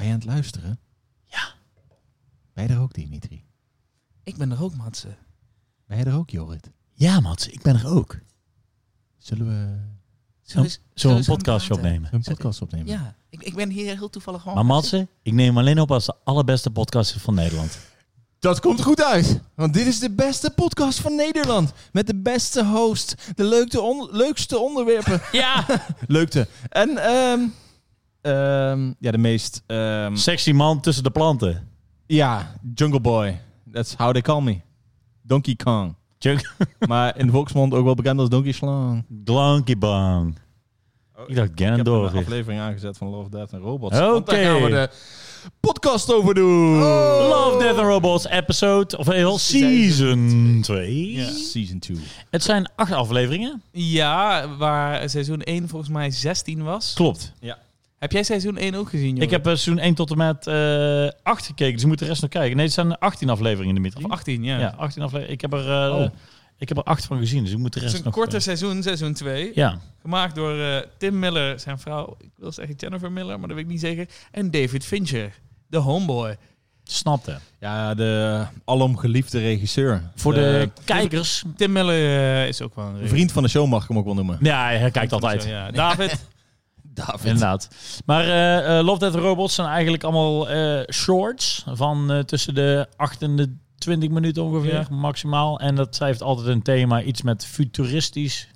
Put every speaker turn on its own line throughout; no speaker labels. aan het luisteren?
Ja.
Ben je er ook, Dimitri?
Ik ben er ook, Matze.
Ben je er ook, Jorrit?
Ja, Mats, ik ben er ook.
Zullen we
Zullen we eens-
Zullen
zullen we gaan
we een
eh, oh,
podcastje
praten?
opnemen?
een podcast opnemen?
Ja, ik, ik ben hier heel toevallig gewoon...
Maar Matsen, ik neem hem alleen op als de allerbeste podcaster van Nederland.
Mm.
Dat komt goed uit, want dit is de beste podcast van Nederland. Met de beste host, de leukte on- leukste onderwerpen.
Ja!
leukte. En ehm, ehm, ja, de meest... ehm,
Sexy man tussen de planten.
ja, Jungle Boy. That's how they call me. Donkey Kong.
Junk maar
Maar in de volksmond ook wel bekend als Donkey Slang.
Glonky Bang.
Oh,
Ik dacht Ganondorf.
Ik heb een
weer.
aflevering aangezet van Love, Death en Robots.
Oké.
Want daar gaan we de podcast over doen.
Love, Death and Robots episode, of heel season 2.
Ja. Season 2.
Het zijn acht afleveringen.
Ja, waar seizoen 1 volgens mij 16 was.
Klopt.
Heb jij seizoen 1 ook gezien, joh?
Ik heb eh, seizoen 1 tot en met eh 8 gekeken, dus ik moet de rest nog kijken. Nee, het zijn 18 afleveringen, Dimitri.
Of 18, ja.
Ja, 18 afleveringen. Ik heb er, eh,
Oh.
ik heb er 8 van gezien, dus ik moet de
Het
rest
is een
nog...
korte
eh,
seizoen, seizoen 2.
Ja,
Gemaakt door eh, Tim Miller, zijn vrouw. Ik wil zeggen Jennifer Miller, maar dat weet ik niet zeker. En David Fincher, de homeboy.
snapte.
Ja, de alomgeliefde regisseur.
Voor de
Eh,
kijkers...
Tim Miller eh, is ook wel een
vriend van de show mag ik hem ook wel noemen.
Ja, hij kijkt altijd.
Ja, David.
David.
Inderdaad. Maar eh, eh, Love Death Robots zijn eigenlijk allemaal eh, shorts van eh, tussen de 8 en de 20 minuten ongeveer
Ja.
maximaal. En dat zij heeft altijd een thema, iets met futuristisch,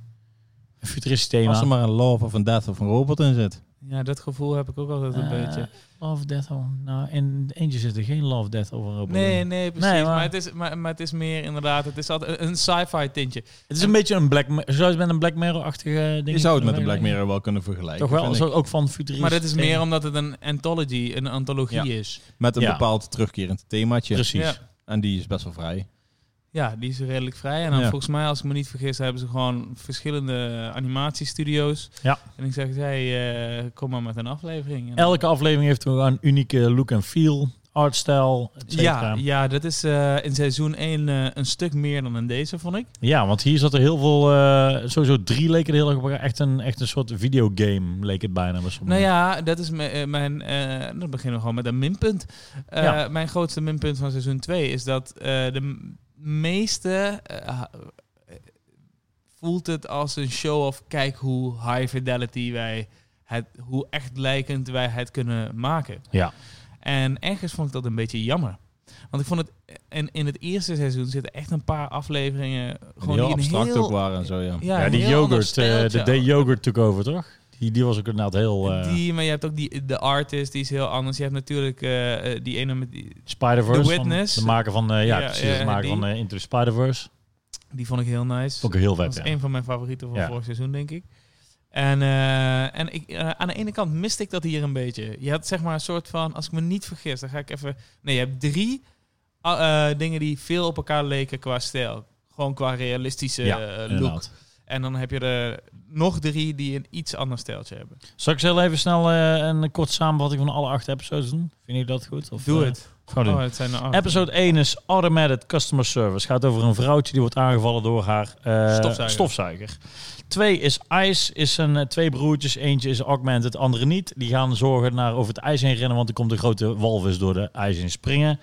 een futuristisch
Als er
thema.
maar een love of een death of een robot in zit.
ja, dat gevoel heb ik ook altijd een
Eh,
beetje.
Love Death. oh, Nou, in eentje zit er geen Love Death over robot.
Nee, nee, precies.
Nee, maar-
maar... het is, maar, maar het is meer inderdaad, het is altijd een sci-fi tintje.
Het is een beetje een Black, Ma- zou je het met een Black Mirror-achtige eh, ding.
Je zou het met een Black
vergelijken?
Mirror wel kunnen vergelijken.
Toch wel,
vind
zo-
ik.
ook van futuristisch.
Maar dat is
thema.
meer omdat het een anthology, een antologie is.
Met een
Ja.
bepaald terugkerend themaatje.
Precies.
Ja.
En die is best wel vrij.
Ja, die is redelijk vrij. En dan
Ja.
volgens mij, als ik me niet vergis, hebben ze gewoon verschillende animatiestudio's.
Ja.
En ik zeg, zij, eh, kom maar met een aflevering. En-
Elke aflevering heeft gewoon een unieke look en feel, artstijl, et
ja,
cetera.
ja, dat is eh, in seizoen 1 een stuk meer dan in deze, vond ik.
Ja, want hier zat er heel veel. eh, sowieso drie leken er heel erg op elkaar. Echt een, echt een soort videogame leek het bijna. bij
Nou
sommigen.
ja, dat is mijn. eh, mijn eh, dan beginnen we gewoon met een minpunt. Eh,
Ja.
Mijn grootste minpunt van seizoen 2 is dat eh, de m- meeste. eh, ha- eh, voelt het als een show of kijk hoe high fidelity wij het. hoe echt lijkend wij het kunnen maken.
Ja.
En ergens vond ik dat een beetje jammer. Want ik vond het. En in het eerste seizoen zitten echt een paar afleveringen.
Gewoon
gewoon
heel
die een
abstract
heel-
ook waren en zo, ja.
Ja,
Ja,
een
die
heel ander
yoghurt. eh,
stijltje
de day
ook.
yogurt took over, toch? Die, die was ook inderdaad heel. eh
Die, maar je hebt ook die, de artist, die is heel anders. Je hebt natuurlijk eh, eh, die ene met die,
Spider-Verse.
The
van
Witness.
De maker van. eh, ja,
Ja,
precies.
ja,
de maker
die.
van eh, Into the Spider-Verse.
die vond ik heel nice.
Vond ik heel
dat
vet.
is
Ja.
een van mijn favorieten van
Ja.
vorig seizoen, denk ik. En, eh, en ik, eh, aan de ene kant miste ik dat hier een beetje. Je had zeg maar een soort van, als ik me niet vergis, dan ga ik even. Nee, je hebt drie ah, eh, dingen die veel op elkaar leken qua stijl. Gewoon qua realistische
Ja,
eh, look.
Inderdaad.
En dan heb je er nog drie die een iets ander stijltje hebben.
Zal ik eens heel even snel eh, een korte samenvatting van alle acht episodes doen? Vind je dat goed? Of,
Doe
eh,
het.
Gewoon doen.
Oh, het zijn er acht.
Episode 1 is Automated Customer Service. Gaat over een vrouwtje die wordt aangevallen door haar eh,
Stofzuiger.
stofzuiger. Twee is ICE. Is een, eh, twee broertjes. Eentje is augmented, het andere niet. Die gaan zorgen naar over het ijs heen rennen, want er komt een grote walvis door de ijs heen springen.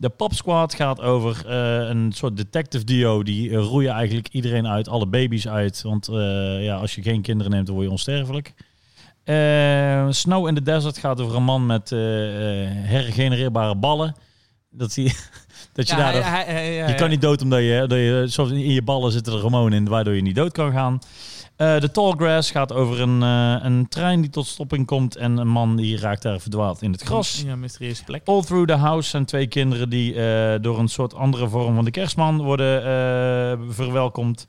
De Pop Squad gaat over eh, een soort detective duo. Die eh, roeien eigenlijk iedereen uit, alle baby's uit. Want eh, ja, als je geen kinderen neemt, dan word je onsterfelijk. Eh, Snow in the Desert gaat over een man met eh, eh, hergenereerbare ballen. Dat, hij, dat je
Ja,
daar...
hij- hij- hij-
Je
hij-
kan niet dood omdat je, dat je soms in je ballen zitten er hormonen in waardoor je niet dood kan gaan. Eh, de Tallgrass gaat over een, eh, een trein die tot stopping komt en een man die raakt daar verdwaald in het gras.
Ja, mysterieuze plek.
All Through the House zijn twee kinderen die eh, door een soort andere vorm van de kerstman worden eh, verwelkomd.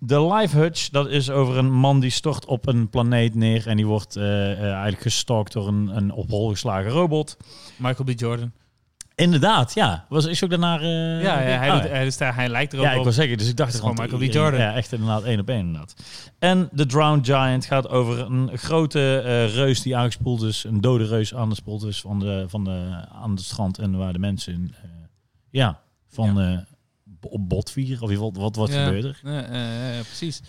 De Life Hutch, dat is over een man die stort op een planeet neer en die wordt eh, eh, eigenlijk gestalkt door een, een op hol geslagen robot.
Michael B. Jordan.
Inderdaad, ja. Was, is ook daarna... eh,
ja, ja, hij,
oh,
doet, hij, is daar- hij lijkt er ook
ja, ik
op.
wil zeggen, dus ik dacht
Het is
van,
gewoon Michael B.
iedereen-
Jordan.
Ja, echt inderdaad één op één inderdaad. En The Drowned Giant gaat over een grote eh, reus die aangespoeld is, een dode reus aangespoeld is van de, van de, aan het strand en waar de mensen in, eh, ja, van eh, b- op botvier of in ieder geval, wat, wat
Ja.
gebeurde er?
Ja, eh, eh, precies.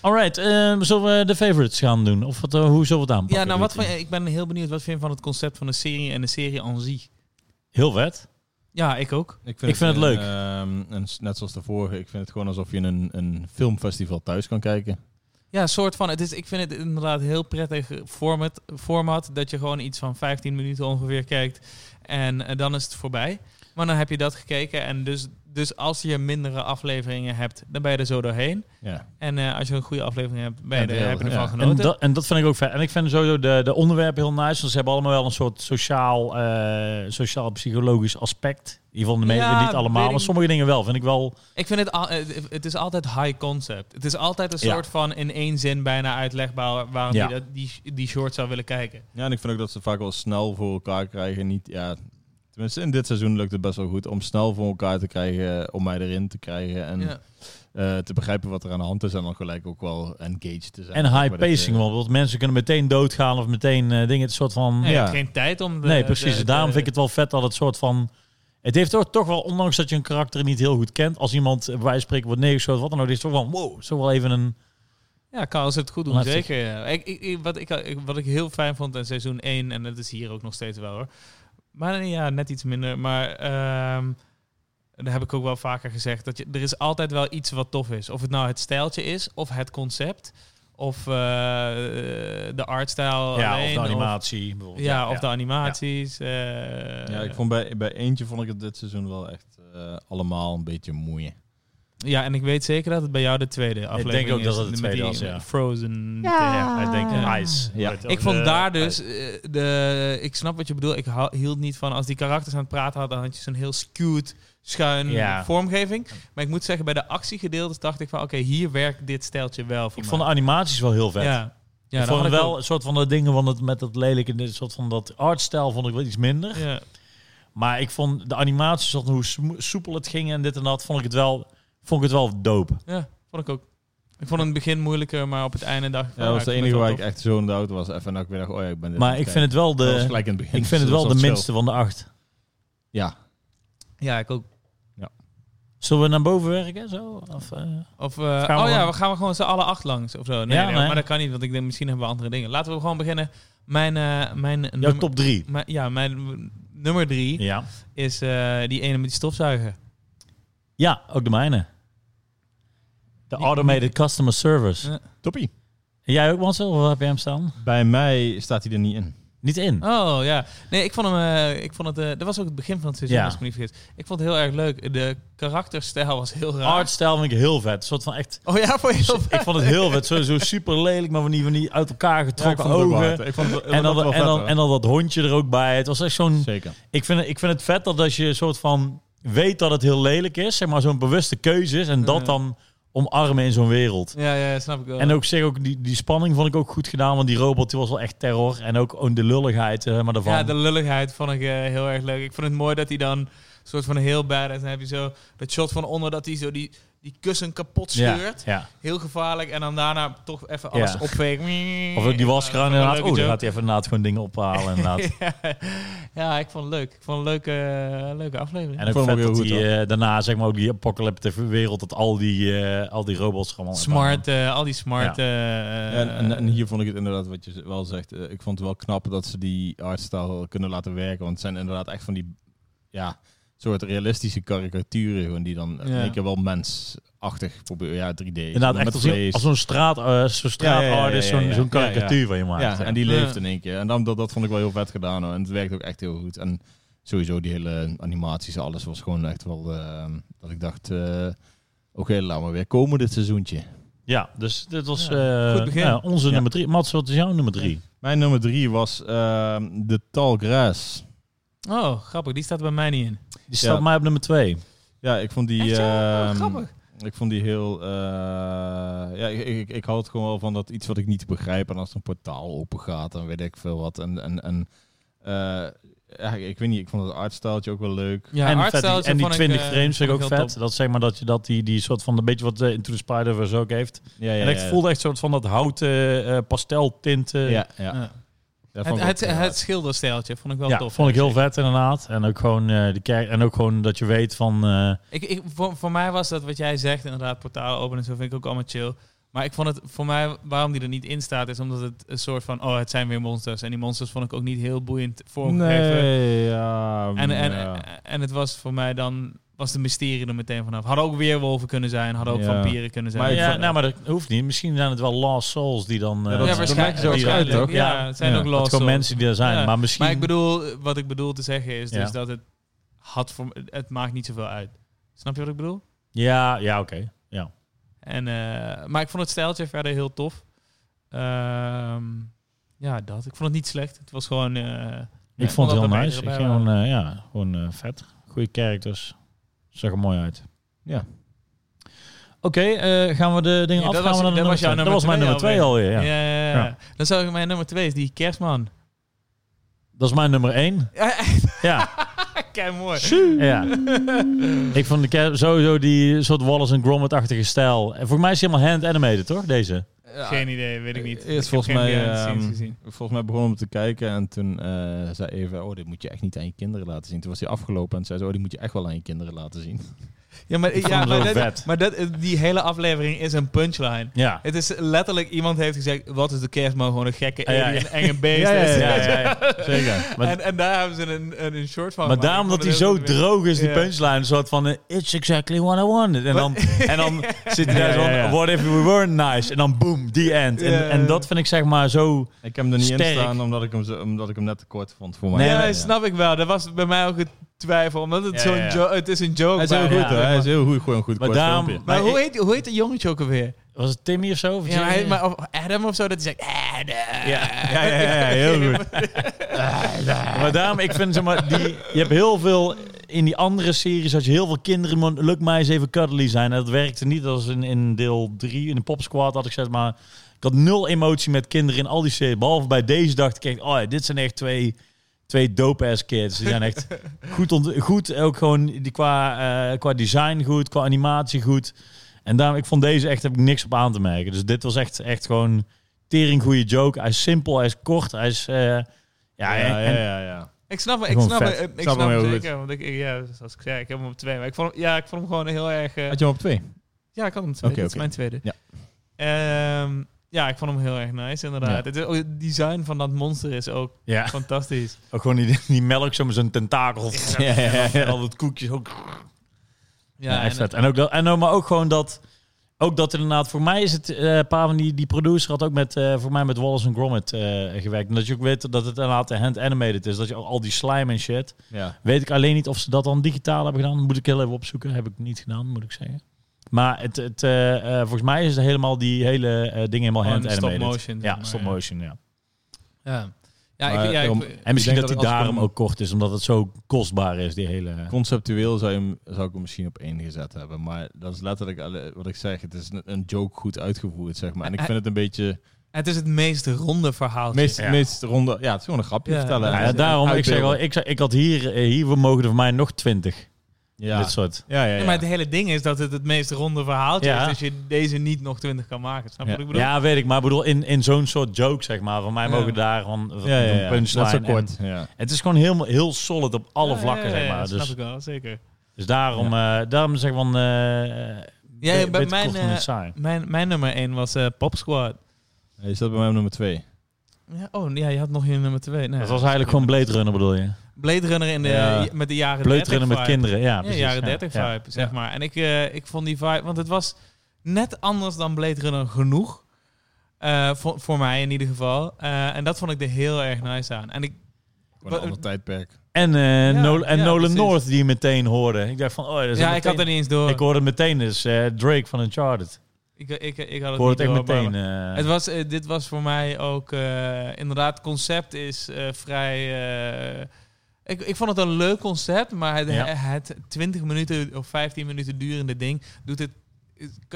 Alright, eh, zullen we de favorites gaan doen? Of wat, eh, hoe zullen we het aanpakken?
Ja, nou, wat
Ruud?
van, ik ben heel benieuwd wat vind je van het concept van een serie en de serie aan zich.
Heel vet.
Ja, ik ook.
Ik
Ik vind het leuk.
ehm, een s- net zoals de vorige, ik vind het gewoon alsof je een, een filmfestival thuis kan kijken.
Ja, een soort van. Het is, ik vind het inderdaad een heel prettig format, format. Dat je gewoon iets van 15 minuten ongeveer kijkt. En eh, dan is het voorbij. Maar dan heb je dat gekeken. En dus, dus als je mindere afleveringen hebt, dan ben je er zo doorheen.
Ja.
En eh, als je een goede aflevering hebt, ben je
Ja,
er, heb je
heel-
ervan
ja.
En
genoten.
dat, en dat vind ik ook vet. En ik vind sowieso de, de onderwerpen heel nice. Want ze hebben allemaal wel een soort sociaal, eh, sociaal-psychologisch aspect. In ieder geval de meeste,
Ja,
niet allemaal.
weet
Maar
ik-
sommige dingen wel. Vind ik wel...
Ik vind het, al, eh, het is altijd high concept. Het is altijd een
Ja.
soort van in één zin bijna uitlegbaar waarom
Ja.
je dat, die, die short zou willen kijken.
ja, en ik vind ook dat ze vaak wel snel voor elkaar krijgen. Niet, ja, tenminste, in dit seizoen lukt het best wel goed om snel voor elkaar te krijgen, om mij erin te krijgen en
Ja.
eh, te begrijpen wat er aan de hand is en dan gelijk ook wel engaged te zijn.
En
Zeg maar
high
dat je-
pacing. Want bijvoorbeeld mensen kunnen meteen doodgaan of meteen eh, dingen. Het soort van...
Nee,
Ja.
Je hebt geen tijd om... de-
nee, precies.
de-
Daarom
de-
vind ik het wel vet dat het soort van... Het heeft toch, toch wel, ondanks dat je een karakter niet heel goed kent... als iemand eh, bij wijze van spreken wordt neergeschoten, wat dan ook... is het toch wel, wow, zo wel even een...
Ja, kan als ze het goed doen,
Laat zich-
zeker. ja. Ik, ik, ik- wat, ik, ik- wat ik heel fijn vond in seizoen 1, en dat is hier ook nog steeds wel hoor. Maar nee, ja, net iets minder. Maar ehm dat heb ik ook wel vaker gezegd. Dat je, er is altijd wel iets wat tof is. Of het nou het stijltje is, of het concept. Of eh, de artstijl
Ja,
alleen.
of de animatie. bijvoorbeeld.
ja, of de animaties. eh,
Ja, ik vond bij, bij eentje vond ik het dit seizoen wel echt eh, allemaal een beetje moeie.
ja, en ik weet zeker dat het bij jou de tweede aflevering is.
denk ook dat het de
met
tweede
die
was, ja.
Frozen.
Ja, ik denk
Ja.
ice.
Ja.
Weet je,
Ik
of
vond
de-
daar dus eh, de. Ik snap wat je bedoelt. Ik hou- hield niet van als die karakters aan het praten hadden, dan had je zo'n heel skewed schuin
Ja.
vormgeving. Maar ik moet zeggen, bij de actiegedeeltes dacht ik van, oké, hier werkt dit steltje wel voor
Ik
mij.
vond de animaties wel heel vet.
ja. Ja,
ik
dat
vond
had
het
ik
wel
ook.
een soort van dat dingen van het, met dat lelijke, een soort van dat artstijl vond ik wel iets minder.
Ja.
Maar ik vond de animaties, zoals hoe smo- soepel het ging en dit en dat, vond ik het wel, vond ik het wel dope.
ja, vond ik ook. Ik vond het in het begin moeilijker, maar op het einde dacht ik.
Ja, dat was de
nou,
enige
ik vind
waar
het
ik
wel
echt zo in de auto was. Even en ik weer dacht, oh ja, ik ben dit aan
Maar
het
ik
kijken.
vind het wel
Dat was
de,
gelijk in het begin.
ik vind het
dus
wel de
dat was
minste van de acht.
chill. Ja.
tof. Ja, ik ook.
Zullen we naar boven werken? Zo? Of, eh,
Of, eh,
we
oh ja,
gewoon-
we gaan we gewoon z'n alle acht langs of zo. Nee,
Ja,
nee,
nee.
maar dat kan niet, want ik denk misschien hebben we andere dingen. Laten we gewoon beginnen. Mijn, eh, mijn
jouw
nummer,
top drie.
mijn- ja, mijn nummer drie.
Ja.
is eh, die ene met die stofzuiger.
ja, ook de mijne. De Automated Customer Service.
Ja.
Toppie.
En Jij ook, Marcel? Of heb jij hem staan?
Bij mij staat hij er niet in.
Niet in.
Oh ja. Nee, ik vond hem. eh, ik vond het. eh, dat was ook het begin van het seizoen,
Ja.
als ik me niet vergis. Ik vond het heel erg leuk. De karakterstijl was heel raar.
Artstijl vind ik heel vet. Een soort van echt
Oh ja, voor
Dus
heel
ik vond het heel vet. Sowieso super lelijk, maar van die, van die uit elkaar getrokken
Ja, ik vond het ook wel hard.
ogen.
Ik vond het, ik
En
vond het
dan,
wel
en,
vet,
dan,
hoor.
en dan dat hondje er ook bij. Het was echt zo'n.
Zeker.
Ik vind, het- ik vind het vet dat als je een soort van weet dat het heel lelijk is, zeg maar zo'n bewuste keuze is. En dat
Ja.
dan omarmen in zo'n wereld.
Ja, ja, snap ik wel.
En ook zeg ook, die, die spanning vond ik ook goed gedaan. Want die robot die was wel echt terror. En ook oh, de lulligheid eh, maar daarvan.
ja, de lulligheid vond ik eh, heel erg leuk. Ik vond het mooi dat hij dan soort van heel badass. Dan heb je zo dat shot van onder dat hij zo die, die kussen kapot
ja,
scheurt.
ja.
Heel gevaarlijk. En dan daarna toch even alles
Ja.
opvegen.
Of ook die
Ja, dat vond ik een
waskraan inderdaad.
leuke
Oeh, daar
joke.
gaat hij even inderdaad gewoon dingen ophalen inderdaad.
ja, ik vond het leuk. Ik vond het een leuke, eh, leuke aflevering.
En ook
Vond hem
vet
ook heel
dat
goed,
die, eh, daarna zeg maar ook die apocalyptische wereld, dat al die, eh, al die robots gewoon...
Smart, eh, al die smart.
Ja.
eh,
En, en, en hier vond ik het inderdaad, wat je z- wel zegt, eh, ik vond het wel knap dat ze die artstijl kunnen laten werken. Want het zijn inderdaad echt van die, ja, soort realistische karikaturen gewoon die dan in
Ja.
één keer wel mensachtig proberen. Ja, 3D.
Inderdaad,
met
echt als,
vlees.
als zo'n straat, eh, zo'n straatartist,
ja, ja, ja,
zo'n,
ja.
zo'n
Ja, ja.
karikatuur van je maakt.
Ja,
zeg.
en die
Ja.
leeft in één keer. En dan, dat, dat vond ik wel heel vet gedaan. Hoor. En het werkt ook echt heel goed. En sowieso die hele animaties, alles was gewoon echt wel... eh, dat ik dacht, eh, oké, laat maar weer komen dit seizoentje.
Ja, dus dit was
Ja,
eh,
goed begin.
ja, onze
Ja.
nummer drie. Mats, wat is jouw nummer drie?
Mijn nummer drie was ehm, de Talgras.
Oh, grappig. Die staat er bij mij niet in.
Die staat
Ja.
mij op nummer twee.
Ja, ik vond die...
Echt, ja? Oh,
ehm,
grappig.
ik vond die heel... eh, ja, ik, ik, ik hou het gewoon wel van dat iets wat ik niet begrijp. En als er een portaal open gaat, dan weet ik veel wat. En... en, en eh, ja, ik weet niet, ik vond het artstijltje ook wel leuk.
Ja,
en, vet,
artstyle
die, en die
vond
20
eh,
frames vind ik ook
vond heel
vet.
top.
Dat zeg maar dat je dat die, die soort van een beetje wat eh, Into the Spider-Verse ook heeft.
Ja, ja,
en ik
ja.
voelde echt soort van dat houten eh pasteltinten.
Ja, ja.
Ja.
Dat vond
Het,
ik ook
het,
heel
het schilderstijltje vond ik wel
Ja,
tof.
vond ik heel vet inderdaad. En ook gewoon eh, de kerk en ook gewoon dat je weet van eh,
Ik, ik, voor, voor mij was dat wat jij zegt, inderdaad, portalen openen en zo vind ik ook allemaal chill. Maar ik vond het voor mij, waarom die er niet in staat, is omdat het een soort van, oh, het zijn weer monsters. En die monsters vond ik ook niet heel boeiend vormgegeven.
eh, Nee, ja.
En, en,
ja.
en het was voor mij dan, was de mysterie er meteen vanaf. Hadden ook weerwolven kunnen zijn, hadden ook
Ja.
vampieren kunnen zijn.
Maar ik
ja,
vond-
nou, maar dat hoeft niet. Misschien zijn het wel Lost Souls die dan... eh,
Ja, dat- dat
ja,
maakt
waarschijnlijk.
het zo
die-
waarschijnlijk ook.
Ja, het zijn
Ja,
ook
dat
lost.
gewoon
souls.
mensen die er zijn.
Ja.
Maar misschien...
Maar ik bedoel, wat ik bedoel te zeggen is dus
Ja.
dat het had voor m- het maakt niet zoveel uit. Snap je wat ik bedoel?
Ja, ja oké. Ja.
En, eh, maar ik vond het stijltje verder heel tof. Ehm, ja, dat. Ik vond het niet slecht. Het was gewoon. eh,
Ik vond het
omdat
heel
er
nice. Ik
meerdere
ging
bij waren.
gewoon, eh, ja, gewoon eh, vet. Goede characters. Zag er mooi uit.
Ja.
Oké, eh, gaan we de dingen
Ja,
af?
dat
Gaan
was-
we naar de
dat was jouw nummer
twee? Dat was mijn
twee
nummer twee alweer,
ja.
ja.
Ja, ja, ja.
Ja.
Dan zou ik mijn nummer twee is die kerstman.
Dat is mijn nummer één. Ja,
Kijk mooi.
ja. Ik vond de kerst sowieso die soort Wallace en Gromit-achtige stijl. En voor mij is hij helemaal hand-animated, toch? Deze.
Ja,
Geen idee, weet ik niet.
Eerst
Ik heb
volgens
geen
mij,
behind the scenes
ehm,
gezien.
Volgens mij begon hem te kijken en toen eh, zei even, oh, dit moet je echt niet aan je kinderen laten zien. Toen was hij afgelopen en zei ze, oh, die moet je echt wel aan je kinderen laten zien.
Ja, maar,
Ik
ja,
vond hem
maar,
zo
dat,
vet.
maar dat, die hele aflevering is een punchline.
Ja.
Het is letterlijk, iemand heeft gezegd, wat is de kerstman? Gewoon een gekke
Ah, ja.
alien, enge beest.
Zeker. Maar,
en, en daar hebben ze een, een, een short van
maar
gemaakt.
daarom
Oh, Ik
dat hij
vond het
zo
heel goed
droog is, die
Ja.
punchline, een soort van, eh, it's exactly what I wanted. En dan, en dan zit hij daar
Ja,
zo
ja,
van,
ja.
what if we were nice? En dan boom, the end.
Ja, ja,
En, en
ja.
dat vind ik zeg maar zo...
Ik heb hem er niet in
Sterk.
staan omdat ik hem, zo, omdat ik hem net te kort vond voor mij.
Nee,
ja,
nee,
snap ik wel. Dat was bij mij ook het twijfel, omdat het
Ja,
zo'n
ja, ja.
jo- het is een joke.
Hij is heel
maar-
goed,
Ja.
hoor. Hij is heel goed, gewoon een goed
Maar
kort
daarom-
filmpje.
Maar
Maar
hoe
ik-
heet, hoe heet dat jongetje ook alweer?
Was het Timmy of zo? Of
Ja, maar hij,
Jimmy?
maar, of Adam of zo, dat hij zegt Adam.
Ja, ja, ja, ja, heel goed. maar daarom, ik vind zeg maar, die, je hebt heel veel in die andere series, had je heel veel kinderen, maar lukt mij eens even cuddly zijn. En dat werkte niet als in, in deel 3, in de Pop Squad had ik zeg maar, ik had nul emotie met kinderen in al die series. Behalve bij deze dacht ik echt, oh ja, dit zijn echt twee, twee dope-ass kids. Die zijn echt goed, ont- goed ook gewoon die, qua, eh, qua design goed, qua animatie goed. En daarom, ik vond deze echt, heb ik niks op aan te merken. Dus dit was echt, echt gewoon tering goede joke. Hij is simpel, hij is kort, hij is... eh, ja,
ja,
en-
ja, ja, ja.
Ik snap hem, ik
Gewoon
snap
vet.
hem, ik,
Snap
snap
hem
hem
heel
zeker. Want ik, ik- ja, zoals ik zei, ik heb hem op twee. Maar ik vond hem, ja, ik vond hem gewoon heel erg... eh,
Had je hem op twee?
Ja, ik had hem twee.
Oké,
dat is
oké.
mijn tweede.
Ja.
Ehm, ja, ik vond hem heel erg nice, inderdaad. Het, is ook- het design van dat monster is ook
ja.
fantastisch.
Ook gewoon die, die melk, zo met zo'n tentakel.
Ja, ja, ja.
En al dat koekjes ook.
Ja,
Ja, echt
en-
vet. En ook dat, en, ook- maar ook gewoon dat... Ook dat inderdaad, voor mij is het, eh een paar van die, die producer had ook met, eh, voor mij met Wallace en Gromit eh, gewerkt. En dat je ook weet dat het inderdaad hand-animated is. Dat je al, al die slime en shit.
Ja.
Weet ik alleen niet of ze dat dan digitaal hebben gedaan. Moet ik heel even opzoeken. Heb ik niet gedaan, moet ik zeggen. Maar het, het, eh, eh, volgens mij is het helemaal die hele eh ding
Oh,
helemaal
Gewoon
hand-animated.
stop-motion, zeg
Ja,
maar,
stop
ja.
motion, ja.
Ja, ja,
Maar
ik, ja, ik-
om-
En misschien
Ik denk
dat hij
dat als ik
daarom
hem-
ook kort is, omdat het zo kostbaar is, die hele...
Conceptueel zou, je hem, zou ik hem misschien op één gezet hebben. Maar dat is letterlijk alle- wat ik zeg. Het is een, een joke goed uitgevoerd, zeg maar. En ik vind het een beetje...
het is het meest ronde verhaal.
Meest,
Ja.
meest ronde... Ja, het is gewoon een grapje
Ja,
vertellen.
ja,
Ja,
En- en
daarom, ik zeg wel,
uitbeelden.
ik, zeg- ik had hier, eh, hier we mogen er voor mij nog twintig,
Ja,
dit soort.
ja, ja.
Ja,
ja.
maar het hele ding is dat het het meest ronde verhaaltje
Ja.
is. Dus je deze niet nog 20 kan maken. Snap je
Ja.
wat ik bedoel?
Ja, weet ik, maar ik bedoel, in, in zo'n soort joke, zeg maar, van mij
Ja.
mogen daar gewoon van
ja, ja,
een
ja.
punchline.
Dat is ook
en-
kort. Ja.
het is gewoon heel, heel solid op alle
Ja,
vlakken,
ja, ja,
zeg maar.
dat
Dus,
snap ik wel, zeker.
dus daarom, eh, daarom zeg ik van, eh,
Ja,
be-
bij
beetje
mijn,
kort en
eh,
niet saai.
Mijn, mijn nummer 1 was eh, Pop Squad.
Is dat bij mij op nummer twee?
Ja, oh, ja, je had nog je nummer 2. Nee.
Dat was eigenlijk gewoon Blade Runner, bedoel je?
Blade Runner in de,
Ja.
met de jaren
Blade
30
Runner met
vibe.
kinderen, ja.
Ja,
precies,
jaren 30
ja.
vibe, zeg maar. En ik, eh, ik vond die vibe... Want het was net anders dan Blade Runner genoeg. Eh, voor, voor mij in ieder geval. Eh, en dat vond ik er heel erg nice aan. En ik...
Gewoon een
Wat-
ander tijdperk.
En, eh,
Ja,
Nolan, en
ja,
Nolan
precies.
North die je meteen hoorde. Ik dacht van, oh, dat is
ja,
meteen-
ik had er niet eens door.
ik hoorde meteen dus eh, Drake van Uncharted.
ik, eh, ik, ik had
Ik
het
hoorde
niet
het echt
door, maar-
meteen. eh,
Het was, eh, dit was voor mij ook eh, inderdaad, concept is eh, vrij. eh, ik, ik vond het een leuk concept, maar het,
Ja.
het 20 minuten of 15 minuten durende ding doet het.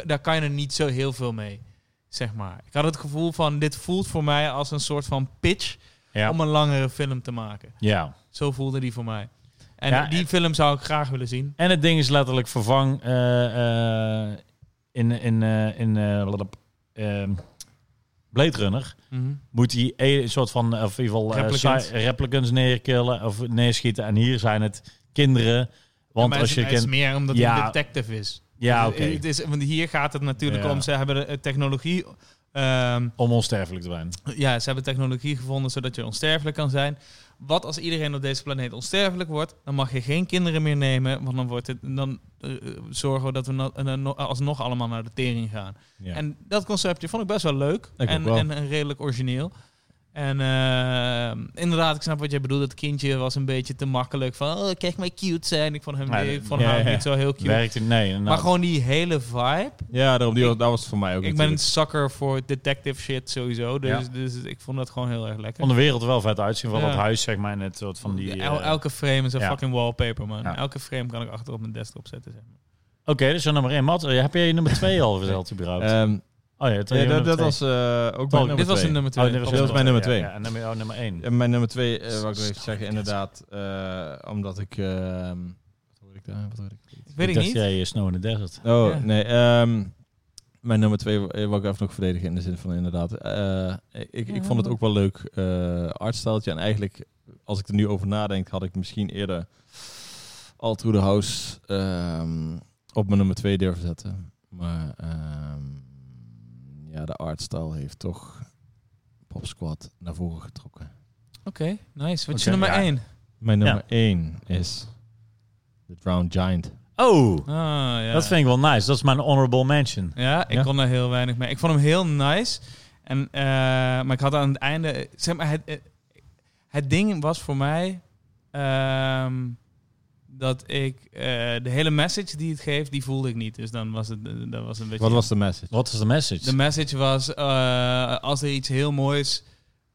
Daar kan je er niet zo heel veel mee. Zeg maar. Ik had het gevoel van dit voelt voor mij als een soort van pitch
ja.
om een langere film te maken.
ja.
Zo voelde die voor mij. En
Ja,
die
en-
film zou ik graag willen zien.
En het ding is letterlijk vervang eh, eh, in, in, eh, in eh, wat op, ehm, Blade Runner. Moet hij een soort van, of in ieder geval eh,
Replicants.
sci- replicants neerkillen of neerschieten. En hier zijn het kinderen.
Ja,
Want
maar
als
hij
je
is, hij is
kind...
meer omdat
Ja.
hij een detective is.
Ja,
Het-
oké.
het is- Want hier gaat het natuurlijk
Ja.
om, ze hebben eh, technologie... ehm,
Om onsterfelijk te zijn.
ja, ze hebben technologie gevonden zodat je onsterfelijk kan zijn. Wat als iedereen op deze planeet onsterfelijk wordt, dan mag je geen kinderen meer nemen, want dan, wordt het, dan eh, eh, zorgen we dat we na- eh, no- alsnog allemaal naar de tering gaan.
Ja.
En dat conceptje vond ik best wel leuk
Ik
en,
ook wel.
En, en redelijk origineel. En eh, inderdaad, ik snap wat jij bedoelt. Het kindje was een beetje te makkelijk van, oh, kijk mij cute zijn. Ik vond hem
Ja,
weer-
dat-
van
ja,
haar
ja.
niet zo heel cute.
Werkt het? Nee. nou, inderdaad.
maar gewoon die hele vibe.
ja, daarom, die,
Ik-
was- dat was het voor mij ook
Ik ben een
natuurlijk.
sucker voor detective shit sowieso. Dus,
Ja.
dus ik vond dat gewoon heel erg lekker.
Om de wereld er wel vet uitzien van
Ja.
dat huis, zeg maar. Net soort van die...
Ja,
eh,
el- elke frame is een
ja.
fucking wallpaper, man.
Ja.
Elke frame kan ik achter op mijn desktop zetten. Zeg maar.
Oké, dus dan nummer één. Mat, eh, heb jij nummer twee al verteld überhaupt?
Ehm,
oh ja, dat,
ja, dat, dat was eh, ook mijn nummer
dit was
twee.
een nummer 2.
Oh, dit was,
dat was mijn nummer twee.
Ja, en nummer, oh, nummer één.
Ja, mijn nummer twee, eh wat ik wil even zeggen, inderdaad, eh, omdat ik... ehm, wat hoor ik daar? Wat hoor ik?
Weet ik
dacht
niet.
jij eh, Snow in the Desert.
Oh,
Ja.
nee. ehm, mijn nummer twee wa- eh, wou ik even nog verdedigen in de zin van inderdaad. eh, ik, ik vond het ook wel leuk eh artstijltje. En eigenlijk, als ik er nu over nadenk, had ik misschien eerder All Through the House ehm, op mijn nummer twee durven zetten. Maar ehm, ja, de artstyle heeft toch Pop Squad naar voren getrokken.
Oké, nice. Wat is je
Oké,
nummer
ja.
1?
Mijn nummer één is The Drowned Giant.
Oh,
Ah, ja.
dat vind ik wel nice. Dat is mijn honorable mention.
Ja, ik
Ja.
kon daar heel weinig mee. Ik vond hem heel nice. En, eh, maar ik had aan het einde... Zeg maar, het, eh, het ding was voor mij... ehm, dat ik... eh, de hele message die het geeft, die voelde ik niet. Dus dan was het, eh, dat was een beetje...
Wat was de message?
Wat is de message?
De message was, eh, als er iets heel moois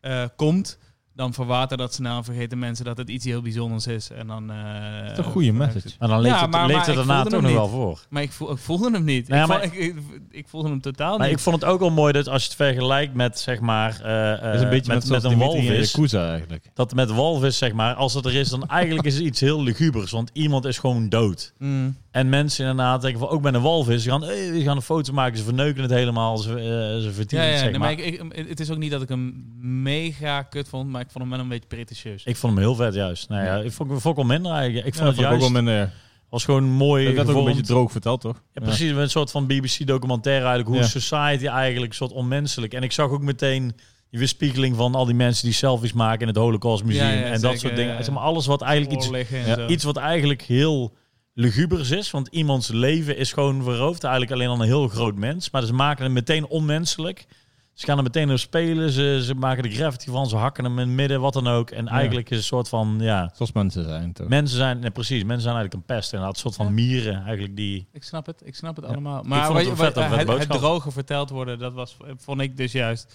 eh, komt, dan verwater dat snel en vergeten mensen dat het iets heel bijzonders is. En dan, eh,
Dat is een goede message.
maar dan leeft
Ja,
het,
maar-
leeft
maar
het
ik
daarna
voelde
toch
hem
nog wel voor.
Maar ik, voel, ik voelde hem niet.
Nou
ik,
ja, maar-
voel- ik, ik- ik voelde hem totaal
Maar
niet.
ik vond het ook wel mooi dat als je het vergelijkt met, zeg maar, eh, eh,
Dat is een beetje
met,
met,
met een walvis.
Yakuza eigenlijk.
Dat met walvis, zeg maar, als het er is, dan eigenlijk is het iets heel lugubers. Want iemand is gewoon dood.
Mm.
En mensen inderdaad denken van, ook met een walvis, ze gaan, eh, die gaan een foto maken, ze verneuken het helemaal, ze, eh, ze
Ja,
verdienen
ja,
het, zeg
nee,
maar.
maar
ik,
ik, ik- het is ook niet dat ik hem mega kut vond, maar ik vond hem wel een beetje pretentieus.
vond hem heel vet juist. Nou ja, ik vond, ik vond hem minder eigenlijk. Ik vond het juist,
ook wel minder.
was gewoon mooi
Dat werd ook een beetje
gevormd.
droog verteld, toch?
Ja, precies, met een soort van BBC-documentaire eigenlijk, hoe
Ja.
society eigenlijk een soort onmenselijk. En ik zag ook meteen die weerspiegeling van al die mensen die selfies maken in het Holocaust Museum
Ja, ja,
en dat
zeker,
soort dingen.
ja, ja.
Zeg maar, alles wat eigenlijk iets,
Oorleggen en
ja,
zo.
iets wat eigenlijk heel lugubers is, want iemands leven is gewoon verroofd. Eigenlijk alleen al een heel groot mens, maar ze maken hem meteen onmenselijk. Ze gaan er meteen op spelen, ze, ze maken de gravity van, ze hakken hem in het midden, wat dan ook. En eigenlijk is het een soort van, ja,
Zoals mensen zijn, toch?
mensen zijn, nee, precies, mensen zijn eigenlijk een pest. En een soort van
Ja.
mieren eigenlijk die...
Ik snap het, ik snap het
Ja.
allemaal. Maar
vond het
wat-
wel vet,
wat-
een vet
het, het
boodschap.
droge verteld worden, dat was, vond ik dus juist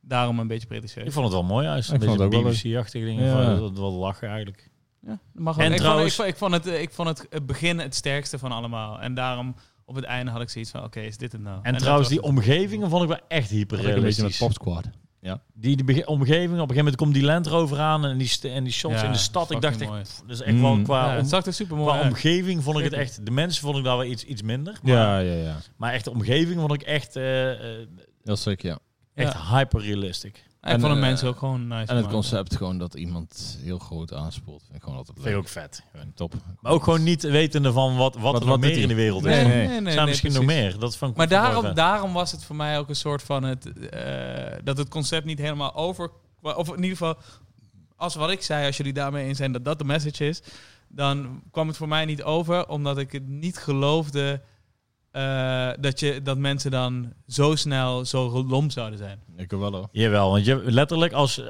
daarom een beetje pretentieus.
Ik vond het wel mooi juist. Een
Ik vond
beetje
het ook wel
BBC-achtige dingen.
Ja.
Van, dat- Wel lachen eigenlijk.
Ja, dat mag
En
wel. ik,
trouwens-
vond, ik, vond, ik vond het, ik vond het eh, begin het sterkste van allemaal. En daarom op het einde had ik zoiets van, oké, is dit het nou?
En,
dat
trouwens,
was
die
het.
omgevingen vond ik wel echt
Dat had ik een beetje
hyperrealistisch.
met Pop Squad.
Die, die bege- omgeving, op een gegeven moment komt die Land Rover aan en die, st- en die shots
Ja,
in de stad. Ik
fucking
dacht echt,
mooi.
pff, dus echt
Mm.
wel qua,
Ja,
om-
het zag er super mooi
qua
uit.
omgeving vond ik het
Zeker.
echt... De mensen vond ik daar wel iets, iets minder. Maar,
Ja, ja, ja.
maar echt de omgeving vond ik echt, eh, eh,
Heel sick, ja.
echt hyperrealistic.
Ik
en,
vond de
eh,
mensen ook gewoon nice.
En het
gemaakt.
concept gewoon dat iemand heel groot aanspoelt. Vind ik gewoon altijd
Vind ik
leuk.
ook vet.
Top.
Maar ook gewoon niet wetende van wat, wat, er nog
wat doet
meer in
hij?
de wereld is.
Nee,
Nee,
nee,
nee.
nee,
Er
Er
nee,
zijn misschien
precies.
nog meer. Dat vond ik
Maar
vond ik wel
daarom,
vet.
daarom was het voor mij ook een soort van het, eh, dat het concept niet helemaal over... Of in ieder geval, als wat ik zei, als jullie daarmee eens zijn dat dat de message is... dan kwam het voor mij niet over, omdat ik het niet geloofde... eh, dat, je, dat mensen dan zo snel zo lom zouden zijn.
Ik ook wel hoor.
Jawel, want je, letterlijk als,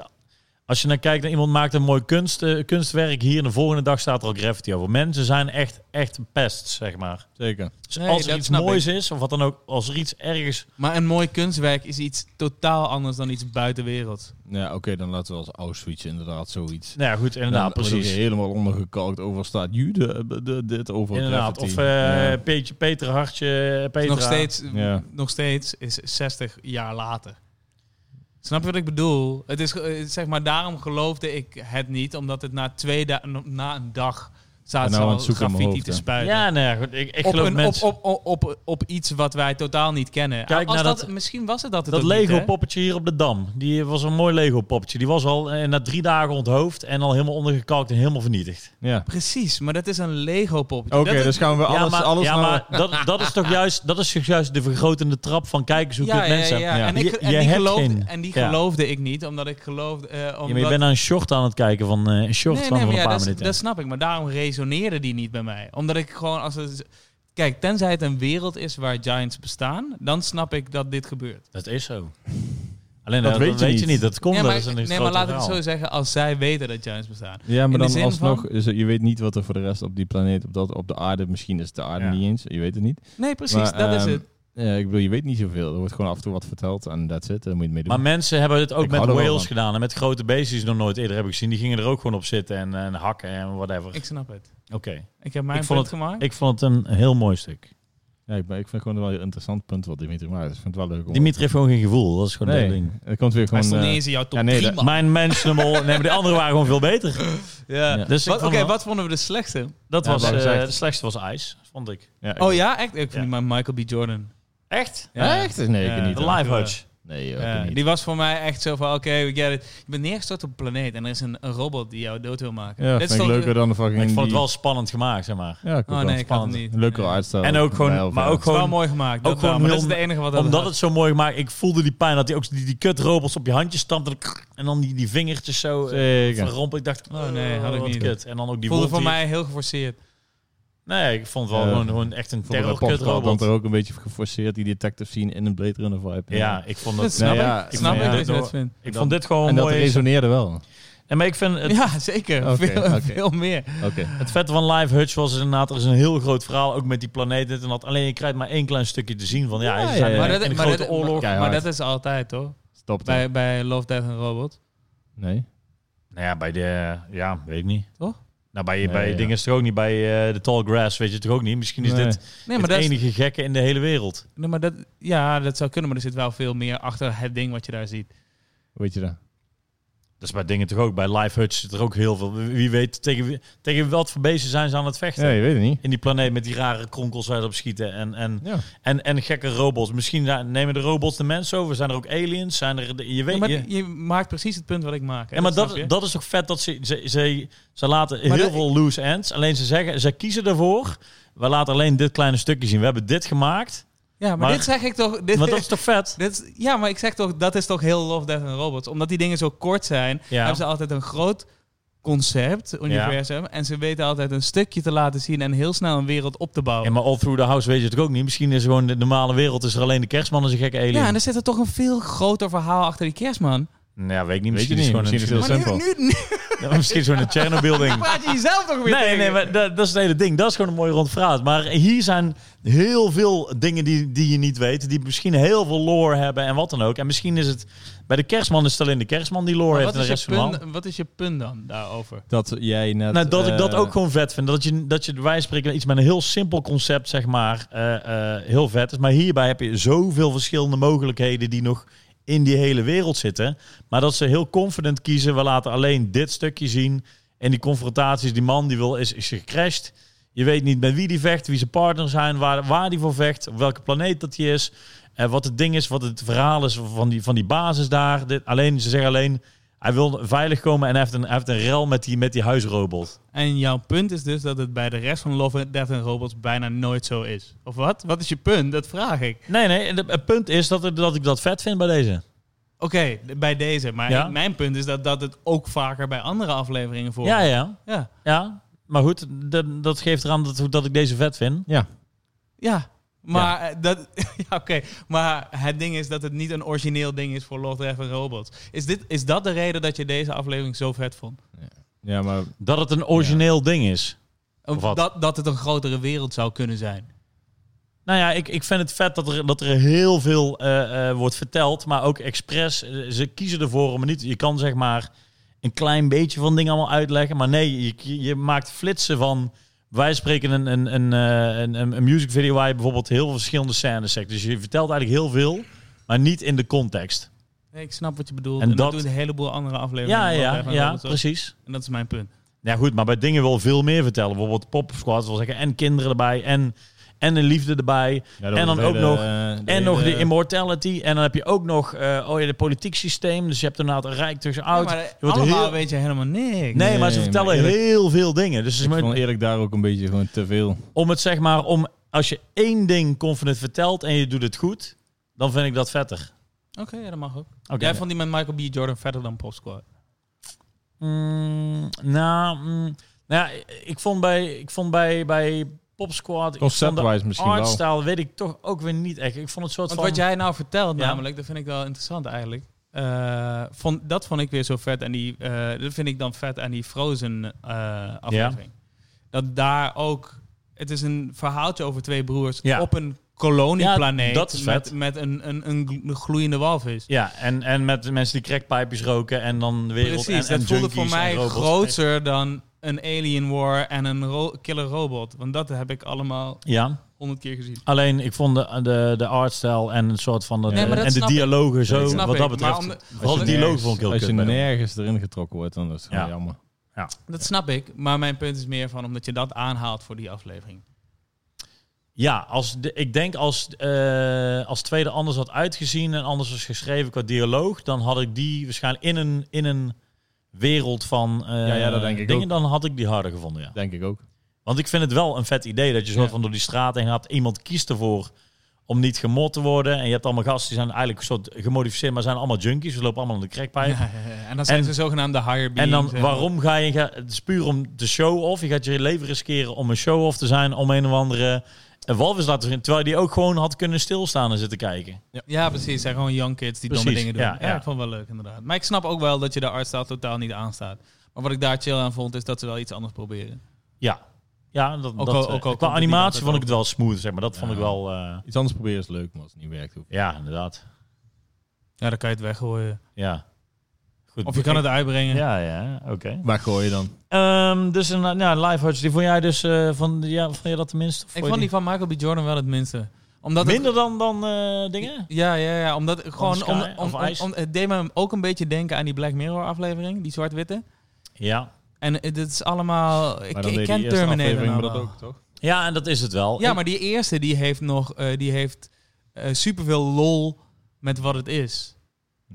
als je naar kijkt naar iemand maakt een mooi kunst, eh, kunstwerk hier en de volgende dag staat er al graffiti over. Mensen zijn echt, echt pest, zeg maar.
Zeker.
Dus
Nee,
als er
dat
iets
snap
moois is, of wat dan ook, als er iets ergens...
Maar een mooi kunstwerk is iets totaal anders dan iets buitenwerelds.
Ja, oké, dan laten we als Auschwitz inderdaad zoiets.
Nou ja, goed, inderdaad,
Dan wordt ook
precies.
helemaal ondergekalkt. Over staat Jude, eh, de- dit over
Inderdaad, of
graffiti.
eh
Ja.
Peetje, Peter Hartje, Petra.
Nog steeds,
Ja.
nog steeds is 60 jaar later. Snap je wat ik bedoel? Het is, ge- eh, zeg maar, daarom geloofde ik het niet, omdat het na twee dagen, na een dag zaten
nou
ze
aan
al
het zoeken in mijn
graffiti te
hoofd,
spuiten.
Ja, nee, goed, ik, ik
op,
geloof
een-
mensen...
op, op, op, op, op iets wat wij totaal niet kennen.
Kijk
Als
naar
dat,
dat-
misschien was het dat het
dat
ook niet, hè?
Lego-poppetje hier op de Dam, die was een mooi Lego-poppetje. Die was al eh, na drie dagen onthoofd en al helemaal ondergekalkt en helemaal vernietigd.
Ja.
Precies, maar dat is een Lego poppetje.
Oké,
Dat is-
dus gaan we alles,
ja, maar,
alles
ja,
naar-
maar dat, dat is toch juist, dat is toch juist de vergrotende trap van kijkers hoe kut mensen hebben.
Ja.
En, ik,
Je-
en
je
die,
hebt
geloofde,
geen-
en die
ja.
geloofde ik niet, omdat ik geloofde... eh,
Ja,
omdat...
maar je bent naar een short aan het kijken van eh, een short
Nee,
van,
nee, maar
van een
ja,
paar
dat,
minuten.
dat snap ik. Maar daarom resoneerde die niet bij mij. Omdat ik gewoon als het... Kijk, tenzij het een wereld is waar Giants bestaan, dan snap ik dat dit gebeurt.
Dat is zo. Alleen
Dat
dat,
weet
weet,
je
je
niet.
niet. Dat komt
nee,
wel
maar,
eens in een
nee, maar laat
groter
ik het zo
verhaal.
zeggen, als zij weten dat Giants bestaan.
Ja,
de
maar dan
zin
alsnog,
van-
is het- je weet niet wat er voor de rest op die planeet, op, dat, op de aarde, misschien is het de aarde
Ja.
niet eens, je weet het niet.
Nee, precies,
Maar,
dat is
ehm,
het.
Ja, ik bedoel, je weet niet zoveel. Er wordt gewoon af en toe wat verteld en that's it. Daar moet je het mee doen.
Maar mensen hebben het ook
Ik
met
hou er wel
whales
van.
gedaan en met grote beesten die ze nog nooit eerder hebben gezien. Die gingen er ook gewoon op zitten en, eh, en hakken en whatever.
Ik snap het.
Oké.
Ik heb mijn
Ik
punt
vond
gemaakt.
Ik vond het een heel mooi stuk.
ja, ik, ben- ik vind het gewoon wel een interessant punt wat Dimitri maakt. Ik vind het wel leuk om...
Dimitri heeft gewoon geen gevoel. Dat is gewoon
nee,
een ding.
het komt weer
Hij
gewoon...
stond niet
eh,
eens in jouw top
ja, nee,
3,
dat-
man.
Mijn mentionable... Nee, maar de anderen waren gewoon veel beter.
Ja.
Ja.
Dus ik
Wat- Oké,
vond wel-
wat vonden we de slechtste?
Dat
Ja,
was...
dat
eh,
is echt-
de slechtste was IJs, vond ik.
ja, ik-
Oh ja, echt? Ik
Ja.
vind maar Michael B. Jordan.
Echt?
Ja.
Echt? Nee, ik
Ja.
niet.
Eh, De
hoor.
Live Hutch.
Nee, joh, ik
Ja,
niet.
die was voor mij echt zo van, oké, we get it. Je bent neergestort op een planeet en er is een, een robot die jou dood wil maken.
Ja,
Dit
vind
is
ik
toch-
leuker dan de fucking...
Ik vond het
die-
wel spannend gemaakt, zeg maar.
Ja, ik ook
Oh
wel.
nee, ik had het
spannend.
niet.
Leukere
Nee.
uitstel.
En ook gewoon- maar ook
Het is wel
Gewoon-
mooi gemaakt.
ook
Ook
gewoon
gewoon maar dat is
heel-
het enige wat dat
Omdat
had.
het zo mooi gemaakt... Ik voelde die pijn dat hij ook die, die kutrobots op je handje stampte. En, dan- en dan die, die vingertjes zo... eh,
Zeker.
van romp. Ik dacht,
Oh, nee, had ik
wat
niet.
Kut. En dan ook die
voelde
wond
voor
die-
mij heel geforceerd.
Nee, ik vond het wel
Eh,
gewoon, gewoon echt een
Ik vond de
terrorkut
rapport wel, want
robot.
er ook een beetje geforceerd die detective scene in een Blade Runner vibe.
Ja, ik vond
Dat
dat...
snap
Nee, ja,
ik.
ik
Snap
vond-
ik
ja,
dat je
dat-
dat vindt.
Ik vond dit
Oh,
gewoon
En dat
mooi.
resoneerde wel.
En maar ik vind het,
Ja, zeker.
Oké,
veel,
oké.
veel meer.
Oké.
het vette van Live Hutch was inderdaad, er is een heel groot verhaal, ook met die planeet dit en dat. Alleen je krijgt maar één klein stukje te zien van, ja,
Ja,
ze
ja,
zijn
ja.
in
Maar
een
dat, maar,
grote
dat,
oorlog.
maar,
Keihard.
dat is altijd, hoor.
Stop dan.
Bij, bij Love, Death and Robot.
Nee.
Nou ja, bij de, ja, weet ik niet.
Toch?
Nou, bij,
Nee,
bij
ja.
dingen is het ook niet, bij eh, de Tall Grass weet je het toch ook niet. Misschien is
Nee.
dit
Nee, maar
het
dat is-
enige gekke in de hele wereld.
nee, maar dat... Ja, dat zou kunnen, maar er zit wel veel meer achter het ding wat je daar ziet.
Hoe weet je dat?
Dat is bij dingen toch ook. Bij Live Hutch zit er ook heel veel. Wie wie weet tegen, wie- tegen wat voor beesten zijn ze aan het vechten.
Ja, je weet het niet.
in die planeet met die rare kronkels waar ze op schieten en, en,
Ja.
en, en gekke robots. Misschien ja, nemen de robots de mensen over. Zijn er ook aliens? Zijn er, de- je weet
Ja, maar
je,
je maakt precies het punt wat ik maak. hè.
ja, maar
snap
dat,
je?
dat is toch vet dat ze, ze, ze, ze laten
Maar
heel
dat-
veel loose ends. Alleen ze zeggen, ze kiezen ervoor. We laten alleen dit kleine stukje zien. We hebben dit gemaakt.
Ja, maar,
maar-
dit zeg ik toch... Dit,
Maar dat is toch vet?
dit is- ja, maar ik zeg toch, dat is toch heel Love, Death and Robots. Omdat die dingen zo kort zijn,
Ja.
hebben ze altijd een groot concept, universum. En ze weten altijd een stukje te laten zien en heel snel een wereld op te
Ja,
bouwen.
maar all through the house weet je het ook niet. Misschien is gewoon de normale wereld is er alleen de kerstman en zijn gekke alien.
Ja,
Ja,
en er zit er toch een veel groter verhaal achter die kerstman.
Nou ja weet ik niet.
Weet je
Misschien,
niet.
is, gewoon
Misschien is
een,
het
Maar nu,
simpel.
nu, nu
Ja, misschien is gewoon een Chernobyl ding.
praat je jezelf toch weer
Nee,
tegen.
nee, maar dat, dat is het hele ding. Dat is gewoon een mooi rond verhaal. Maar hier zijn heel veel dingen die, die je niet weet. Die misschien heel veel lore hebben en wat dan ook. En misschien is het... Bij de kerstman is het alleen de kerstman die lore
Maar
heeft.
wat,
En de
is
rest
je
van de hand.
punt, wat is je punt dan daarover?
Dat jij net...
Nou, dat ik dat
eh,
ook gewoon vet vind. Dat je, dat je bij wijze van spreken iets met een heel simpel concept, zeg maar, eh, eh, heel vet is. Maar hierbij heb je zoveel verschillende mogelijkheden die nog in die hele wereld zitten. Maar dat ze heel confident kiezen, we laten alleen dit stukje zien. En die confrontaties, die man die wil, is, is gecrashed. Je weet niet met wie die vecht, wie zijn partners zijn, waar, waar die voor vecht, op welke planeet dat die is. eh, wat het ding is, wat het verhaal is van die, van die basis daar. Dit, alleen, ze zeggen alleen, hij wil veilig komen en hij heeft een, hij heeft een rel met die, met die huisrobot.
En jouw punt is dus dat het bij de rest van Love, Death and Robots bijna nooit zo is. Of wat? Wat is je punt? Dat vraag ik.
Nee, nee. en de- Het punt is dat, het- dat ik dat vet vind bij deze.
Oké, d- bij deze. Maar
Ja?
ik- mijn punt is dat, dat het ook vaker bij andere afleveringen
Ja,
voorkomt.
ja.
ja.
Ja. Maar goed, dat, dat geeft eraan dat, dat ik deze vet vind.
Ja.
Ja. Maar, eh, Dat, ja, oké. maar het ding is dat het niet een origineel ding is voor Love, Death and Robots. Is, dit, is dat de reden dat je deze aflevering zo vet vond?
Ja, maar...
Dat het een origineel ding is. Of wat?
Dat, dat het een grotere wereld zou kunnen zijn.
Nou ja, ik, ik vind het vet dat er, dat er heel veel eh, eh, wordt verteld. Maar ook expres. eh, Ze kiezen ervoor om het niet... Je kan zeg maar een klein beetje van dingen allemaal uitleggen. Maar nee, je, je maakt flitsen van... Wij spreken een, een, een, eh, een, een, een music video waar je bijvoorbeeld heel veel verschillende scènes zegt. Dus je vertelt eigenlijk heel veel, maar niet in de context.
Nee, ik snap wat je bedoelt. En,
En
dat,
dat-
doen een heleboel andere afleveringen.
Ja,
van Love,
ja,
Death and
ja,
Robots ook.
precies.
En dat is mijn punt.
Ja, goed, maar bij dingen wil veel meer vertellen. Bijvoorbeeld Pop Squad wil zeggen. En kinderen erbij. En, en de liefde erbij. En dan ook nog- En nog de immortality. En dan heb je ook nog eh, oh ja, de politiek systeem. Dus je hebt inderdaad rijk tussen oud.
maar eh,
wordt
allemaal
heel-
weet je helemaal niks.
nee, maar ze
Nee,
vertellen
maar eerlijk-
heel veel dingen. Dus het is
Ik
maar-
vond eerlijk daar ook een beetje gewoon te veel.
om het zeg maar, om, als je één ding confident vertelt en je doet het goed, dan vind ik dat vetter.
Oké, ja, dat mag ook.
Oké.
Jij vond die met Michael B. Jordan verder dan Pop Squad.
Mm, nou, mm, nou ja, ik vond bij, ik vond bij, bij Pop Squad, ik vond de
Conceptwise misschien wel.
artstyle, weet ik toch ook weer niet echt. Ik vond het soort
Want
van...
wat jij nou vertelt
Ja.
namelijk, dat vind ik wel interessant eigenlijk. Eh, vond, dat vond ik weer zo vet aan die... eh, dat vind ik dan vet aan die Frozen eh, aflevering. Dat daar ook... Het is een verhaaltje over twee broers
Ja.
op een kolonieplaneet.
Ja, dat is
Met,
vet.
met een, een, een gl- gloeiende walvis.
Ja, en, en met de mensen die crackpijpjes roken en dan de wereld
Precies,
en, en
dat voelde voor
junkies en
mij
robots.
groter dan een alien war en een ro- killer robot. Want dat heb ik allemaal
Ja,
honderd keer gezien.
alleen ik vond de, de, de artstyle en een soort van... De,
Nee, maar
dat
en de
snap ik.
dialogen zo,
snap
wat dat
ik, maar
betreft.
om de-
Vooral de
Als je
dialoog
nergens-
vond ik heel
Als je
kut bij hem.
nergens erin getrokken wordt, dan is het gewoon
Ja.
jammer.
Dat snap ik, maar mijn punt is meer van omdat je dat aanhaalt voor die aflevering.
Ja, als de, ik denk als, eh, als tweede anders had uitgezien en anders was geschreven qua dialoog, dan had ik die waarschijnlijk in een, in een wereld van eh,
Ja, ja, dat denk ik
dingen, dan had ik die harder gevonden. Ja.
Denk ik ook.
Want ik vind het wel een vet idee dat je soort
Ja.
van door die straat heen gaat. Iemand kiest ervoor om niet gemot te worden. En je hebt allemaal gasten die zijn eigenlijk een soort gemodificeerd, maar zijn allemaal junkies. Ze lopen allemaal in de crackpijp.
en dan zijn
En-
ze zogenaamde higher beings.
En dan waarom ga je... ga- Het is puur om de show-off. Je gaat je leven riskeren om een show-off te zijn... om een of andere eh, walvis te laten zien. Terwijl die ook gewoon had kunnen stilstaan en zitten kijken.
Ja, precies. Zijn gewoon young kids die domme
Precies,
dingen doen.
ja,
Ja,
ja.
ik vond het wel leuk inderdaad. Maar ik snap ook wel dat je de artstyle totaal niet aanstaat. Maar wat ik daar chill aan vond, is dat ze wel iets anders proberen.
Ja. Ja, dat,
Ook
dat,
al- ook
eh,
al
qua
komt het niet
animatie
altijd
vond ik het wel smooth, zeg maar. Dat vond ik
Ja.
wel... eh,
Iets anders proberen is leuk, maar als het niet werkt, hoeft
ja, inderdaad.
Ja, dan kan je het weggooien.
Ja. Goed.
Of je kan het uitbrengen.
Ja, ja, oké.
Waar gooi je dan?
Ehm, dus een nou, live hots, die vond jij dus eh, van, ja, vond jij dat tenminste?
Ik vond die van Michael B. Jordan wel het minste. Omdat het-
minder dan, dan eh, dingen?
Ja, ja, ja. Omdat gewoon
Sky
om, om,
of
om,
Ice?
om- het deed me ook een beetje denken aan die Black Mirror aflevering, die zwart-witte.
Ja.
En het het is allemaal. Ik,
Maar dan
ik
deed die
ken
eerste
Terminator.
aflevering
nou
dat
wel.
ook, toch?
Ja, en dat is het wel.
Ja, maar die eerste die heeft nog, eh, die heeft eh, superveel lol met wat het is.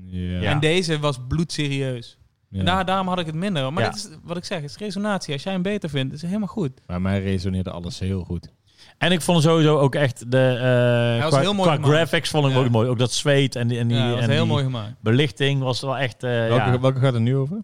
Ja.
Ja.
En deze was bloedserieus.
Ja.
En daar- daarom had ik het minder. Maar
Ja.
dat is wat ik zeg, het is resonatie. Als jij hem beter vindt, is het helemaal goed.
Bij mij resoneerde alles heel goed.
En ik vond sowieso ook echt de eh,
was
qua,
heel mooi
qua
gemaakt.
graphics vond ik hem
Ja.
ook mooi. Ook dat zweet en die, en die,
ja, dat was
en
heel
die
mooi gemaakt.
belichting was wel echt. eh,
welke,
ja.
welke gaat er nu over?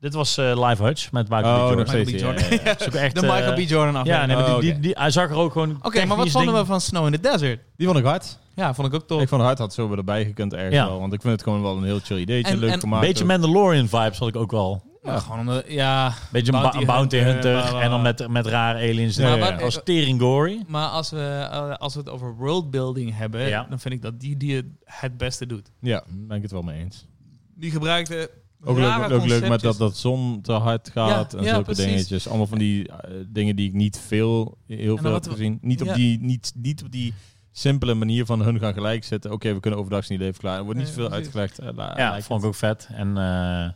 Dit was eh, Live Hutch met Michael
Oh,
B. Jordan.
nog steeds.
Michael B.
ja,
Jordan.
ja, ja.
Dat is ook echt,
De Michael
eh,
B. Jordan
Ja,
aflevering.
nee, maar die,
Oh,
die,
oké.
die- hij zag er ook gewoon.
Oké, maar wat vonden we van Snow in the Desert?
Die vond ik hard.
Ja, vond ik ook tof.
Ik vond hard had zo weer erbij gekund ergens
Ja.
wel. Want ik vind het gewoon wel een heel chill ideetje.
En-
leuk
en-
gemaakt.
Beetje
ook.
Mandalorian vibes had ik ook wel.
Maar gewoon omdat, ja,
Beetje een ba-
Bounty
een bounty
hunter,
hunter.
bla, bla,
En dan
bla.
met, met rare aliens.
Ja,
Maar
ja, ja.
wat- Als Tering Gory.
Maar als we, eh, als we het over worldbuilding hebben,
Ja.
dan vind ik dat die, die het het beste doet.
Ja, daar ben ik het wel mee eens.
Die gebruikte
Ook
rare
leuk, ook leuk met
conceptjes.
dat, dat zon te hard gaat
Ja,
en
ja,
zulke
precies.
dingetjes. Allemaal van die eh, dingen die ik niet veel, heel
dan
veel heb
wat we-
gezien. Niet,
ja.
op die, niet, niet op die simpele manier van hun gaan gelijk zitten. Oké, we kunnen overdag niet even klaar. Er wordt niet
Nee,
veel
precies.
uitgelegd. Eh, la-
Ja,
lijkt
vond ik
het.
ook vet. En eh,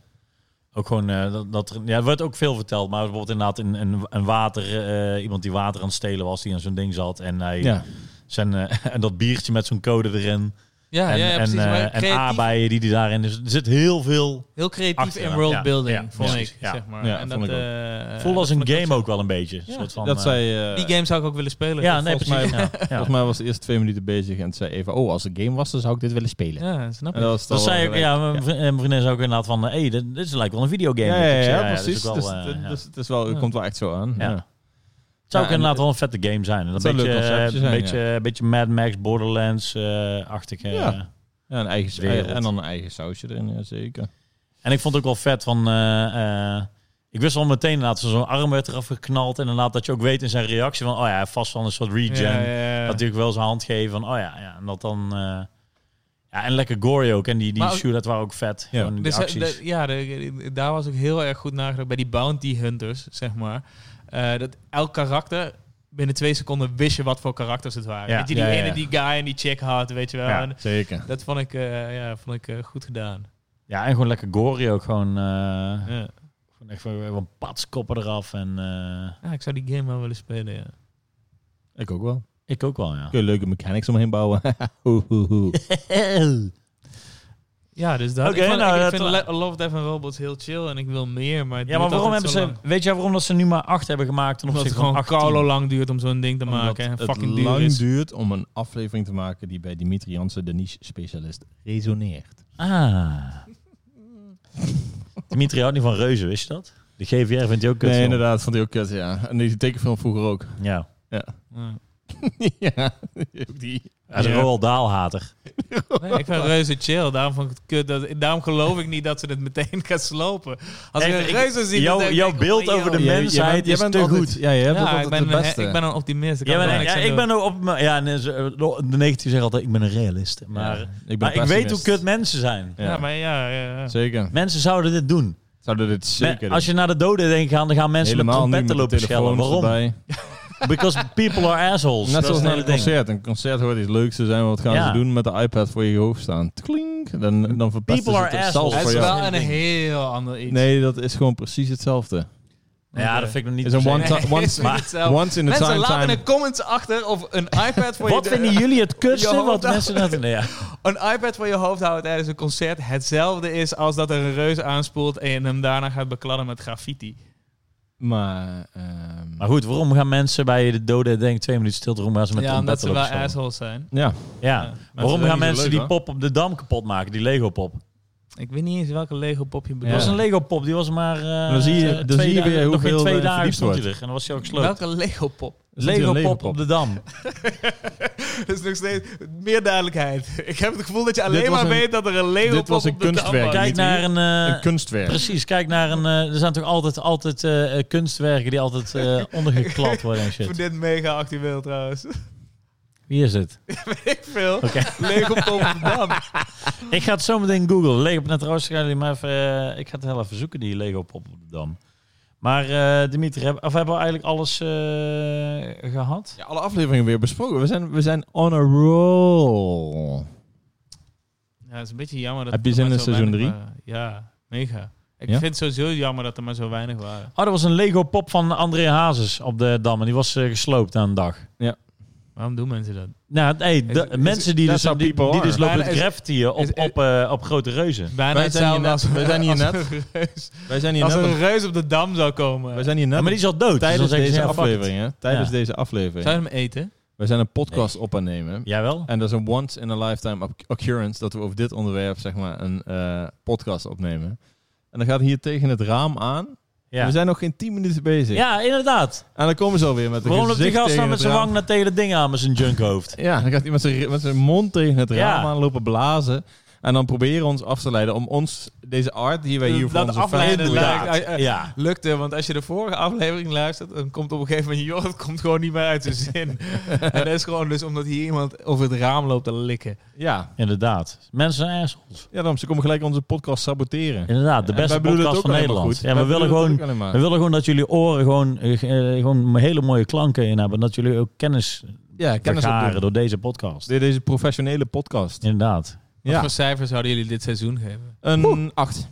ook gewoon eh, dat, dat er, ja, er werd ook veel verteld. Maar bijvoorbeeld inderdaad een, een, een water, eh, iemand die water aan het stelen was, die aan zo'n ding zat. En, hij,
Ja.
zijn, eh, en dat biertje met zo'n code erin.
Ja,
en
ja, ja, precies.
en, eh,
maar
en
creatief-
aardbeien die die daarin. Dus er zit heel veel.
heel creatief
achter,
in
ja.
worldbuilding,
Ja, ja,
vond
precies,
ik.
ja.
Zeg maar.
Ja,
en
vond
dat,
ik ook.
eh,
voelde als een
vond ik
game
zo-
ook wel een beetje. Een
Ja,
soort van,
dat
eh,
zij... eh,
Die game zou ik ook willen spelen.
Ja, nee,
volgens
precies.
mij.
ja, ja.
Volgens mij was de eerste twee minuten bezig en zei even... Oh, als het game was, dan zou ik dit willen spelen.
Ja, snap
En
ik.
dat was dan
Dat
wel
zei ook,
gelijk.
ja, mijn vri- eh, mijn vriendin zei ook inderdaad van, hé, hey, dit, dit is lijkt wel een videogame.
Ja,
Ik
ja,
zei,
ja,
dat is
precies.
ook
Dus
wel, eh,
het-
ja.
dus het is wel- het
Ja.
komt wel echt zo aan.
Ja.
Ja.
Het zou ook
Ja, en
inderdaad wel een vette game zijn. Een
Het zou
beetje, eh,
een leuk
een
conceptje zijn,
beetje, beetje Mad Max, eh, Borderlands-achtig.
Ja. Ja, een eigen,
Wereld.
en dan een eigen sausje erin, ja, zeker.
En ik vond het ook wel vet van... eh, eh, ik wist al meteen inderdaad, zo- zo'n arm werd eraf geknald. En inderdaad dat je ook weet in zijn reactie van... Oh ja, vast wel een soort regen.
Ja, ja, ja.
Natuurlijk wel zijn hand geven van... Oh ja, ja en dat dan... eh, ja, en lekker gory ook. En die, die
Maar ook-
shootout waren ook vet.
Ja.
Gewoon die
Dus, eh,
acties.
de- ja, de- daar was ook heel erg goed nagedacht bij die bounty hunters, zeg maar. Eh, dat elk karakter, binnen twee seconden wist je wat voor karakters het waren.
Ja.
Weet je, die
Ja, ja,
ene
ja.
die guy en die chick had, weet je wel.
Ja.
En
Zeker.
dat vond ik, eh, ja, vond ik eh, goed gedaan.
ja, en gewoon lekker gory ook. Gewoon, eh,
Ja.
Gewoon echt van, van pats, koppen eraf. En eh,
Ja, ik zou die game wel willen spelen, ja.
Ik ook wel.
ik ook wel, ja.
Kun je leuke mechanics omheen bouwen. Hoe, hoe, hoe.
Ja, dus dat...
Oké,
ik vond-
nou,
ik, ik
dat-
vind Le- Love, Death and Robots heel chill en ik wil meer, maar... het
Ja, maar
duurt
waarom
altijd
hebben
zo
ze...
lang.
Weet je waarom dat ze nu maar acht hebben gemaakt? ten
Omdat het
opzichte
gewoon
van 18?
koulo lang duurt om zo'n ding te
Omdat
maken. En
het
fucking duur
lang
is.
duurt om een aflevering te maken die bij Dimitri Jansen, de niche-specialist, resoneert.
Ah. Dimitri houdt niet van reuzen, wist je dat? De GVR vindt hij ook kut.
nee,
joh.
inderdaad, vond hij ook kut, ja. En die tekenfilm vroeger ook.
Ja.
Ja.
ja, ook die.
Hij is een
Ja.
Roald Daal-hater.
Nee, ik vind reuze chill. Daarom, vond ik het kut dat, daarom geloof ik niet dat ze het meteen gaat slopen. Als ik
Echt,
een
ik-
reuze zie... dan
jouw-
denk ik,
jouw
oh,
beeld
joh.
over de
Je- je
mensheid
bent- je
is
bent
te
altijd-
goed.
Ja, je hebt
Ja,
altijd
ik ben,
de
een,
beste.
ik ben een optimist. Ik
Ja,
kan
maar,
er
ja,
niks aan
ik
doen.
ben ook op... Ja, nee, ze- de negatief zeggen altijd, ik ben een realist. Maar,
Ja, ik,
maar ik weet hoe
pessimist.
kut mensen zijn.
Ja.
Ja, maar ja, ja, ja.
Zeker.
Mensen zouden dit doen.
Zouden dit zeker
Men- als je naar de doden denkt gaan, dan gaan mensen
Helemaal
met
niet
trompetten
met
lopen
de telefoons
schellen. Waarom?
erbij.
Because people are assholes.
Net zoals
dat
naar een
is het hele ding.
concert. Een concert hoort iets leuks te zijn. Wat gaan
Ja.
ze doen met de iPad voor je hoofd staan? Klink. Dan, dan verpesten
People
ze
are
het zelfs
assholes.
Het
voor
is
jou.
wel een heel ander iets.
Nee, dat is gewoon precies hetzelfde.
Ja, dat vind ik nog niet
Is een
per se.
one-time-
Nee,
once-
is niet
maar-
hetzelfde.
Once in a
Mensen,
time
laat in
time.
de comments achter of een iPad voor
Wat
je
vinden jullie het kutste
Johan,
wat
dat-
mensen dat nee, ja.
een iPad voor je hoofd houden tijdens een concert hetzelfde is als dat er een reus aanspoelt en je hem daarna gaat bekladden met graffiti.
Maar, ehm,
Maar goed, waarom gaan mensen bij de doden denken twee minuten stilte roepen gaan ze met
ja, omdat ze
trompetten
wel
lopen schellen?
assholes zijn.
ja,
Ja.
Ja. Maar
ze
waarom
zijn niet
gaan
zo
mensen
leuk,
die
hoor.
pop op de dam kapot maken, die Lego pop?
Ik weet niet eens welke Lego pop je
Dat
bedoelt.
Ja.
was een Lego pop, die was maar eh,
Dan zie je- dan
twee
zie je
dagen-
weer
nog geen
hoeveel,
twee
eh,
dagen
verliefd
stond hij
wordt.
er en dan was hij ook gesloopt.
welke Lego pop?
Is dat hier
Lego
een
pop
Lego-pop?
op de dam.
Dat is nog steeds meer duidelijkheid. Ik heb het gevoel dat je alleen
Dit was
maar
een-
weet dat er een Lego
dit
pop
was
op
een
de
kunstwerk.
dam hangt.
Kijk
Oh, niet
naar
hier.
een
een
eh,
kunstwerk.
Precies, kijk naar een. eh, er zijn toch altijd, altijd eh, eh, kunstwerken die altijd eh ondergeklapt worden en
Ik vind
shit.
dit mega actueel trouwens.
Wie is dit?
Ik veel.
Oké.
Lego pop op de dam.
Ik ga het zo meteen googlen. Lego, nou trouwens, gaan jullie maar even, eh, ik ga het heel even zoeken, die Lego pop op de dam. Maar eh Dimitri, heb, of hebben we eigenlijk alles eh, gehad?
Ja, alle afleveringen weer besproken. We zijn, we zijn on a roll.
Ja, het is een beetje jammer dat
Heb je
er
zin
maar
in
zo
seizoen
weinig
drie?
waren. Ja, mega. Ik
Ja?
vind het sowieso jammer dat er maar zo weinig waren.
Oh, er was een Lego pop van André Hazes op de dam. En die was eh, gesloopt aan een dag.
Waarom doen mensen dat?
Nou, hey, de-
Is- is-
mensen die
that's
dus, die,
how people
die
are.
dus lopen
Maar
te
is-
graffitiën op,
is-
op, eh, op grote reuzen.
Bijna
Wij zijn hier
hetzelfde
net-
als-
wij zijn hier
als
net.
een reus.
Wij zijn hier
Als
net
er
een-
een reus op de dam zou komen.
wij zijn hier
Ja,
net
maar die is al dood. dus dan
tijdens
zeggen ze,
deze
ja, fuck it.
aflevering. Hè? Tijdens
Ja.
deze
Zou
aflevering.
je hem eten?
Wij zijn een podcast op aan nemen.
Jawel.
En dat is een once in a lifetime oc- occurrence dat we over dit onderwerp zeg maar een eh, podcast opnemen. En dan gaat hij hier tegen het raam aan.
Ja.
We zijn nog geen 10 minuten bezig.
ja, inderdaad.
En dan komen ze alweer met een
Waarom loopt die
gezicht
gast
tegen
dan met
het
zijn
raam.
wang naar tegen dat ding aan met zijn junkhoofd?
Ja, dan gaat hij met zijn- met zijn mond tegen het
Ja.
raam aan lopen blazen. En dan proberen ons af te leiden om ons, deze art die wij hier voor
dat
onze
afleiden
fans doen.
lijkt...
Inderdaad.
eh, eh,
Ja.
Lukte, want als je de vorige aflevering luistert, dan komt op een gegeven moment, joh, het komt gewoon niet meer uit zijn zin. en dat is gewoon dus omdat hier iemand over het raam loopt te likken.
Ja.
Inderdaad. Mensen zijn assholes.
ja, dan ze komen gelijk onze podcast saboteren.
Inderdaad, de
En
beste
wij bedoelen
podcast
het
van
ook helemaal
Nederland.
goed.
Ja, we
Wij
willen
bedoelen het
gewoon
ook helemaal.
We willen gewoon dat jullie oren gewoon, eh, eh, gewoon hele mooie klanken in hebben. Dat jullie ook kennis,
Ja, kennis
vergaren
opdoen.
door deze podcast.
Dit is een professionele podcast.
Inderdaad.
Wat
Ja.
voor cijfers zouden jullie dit seizoen geven?
Een 8.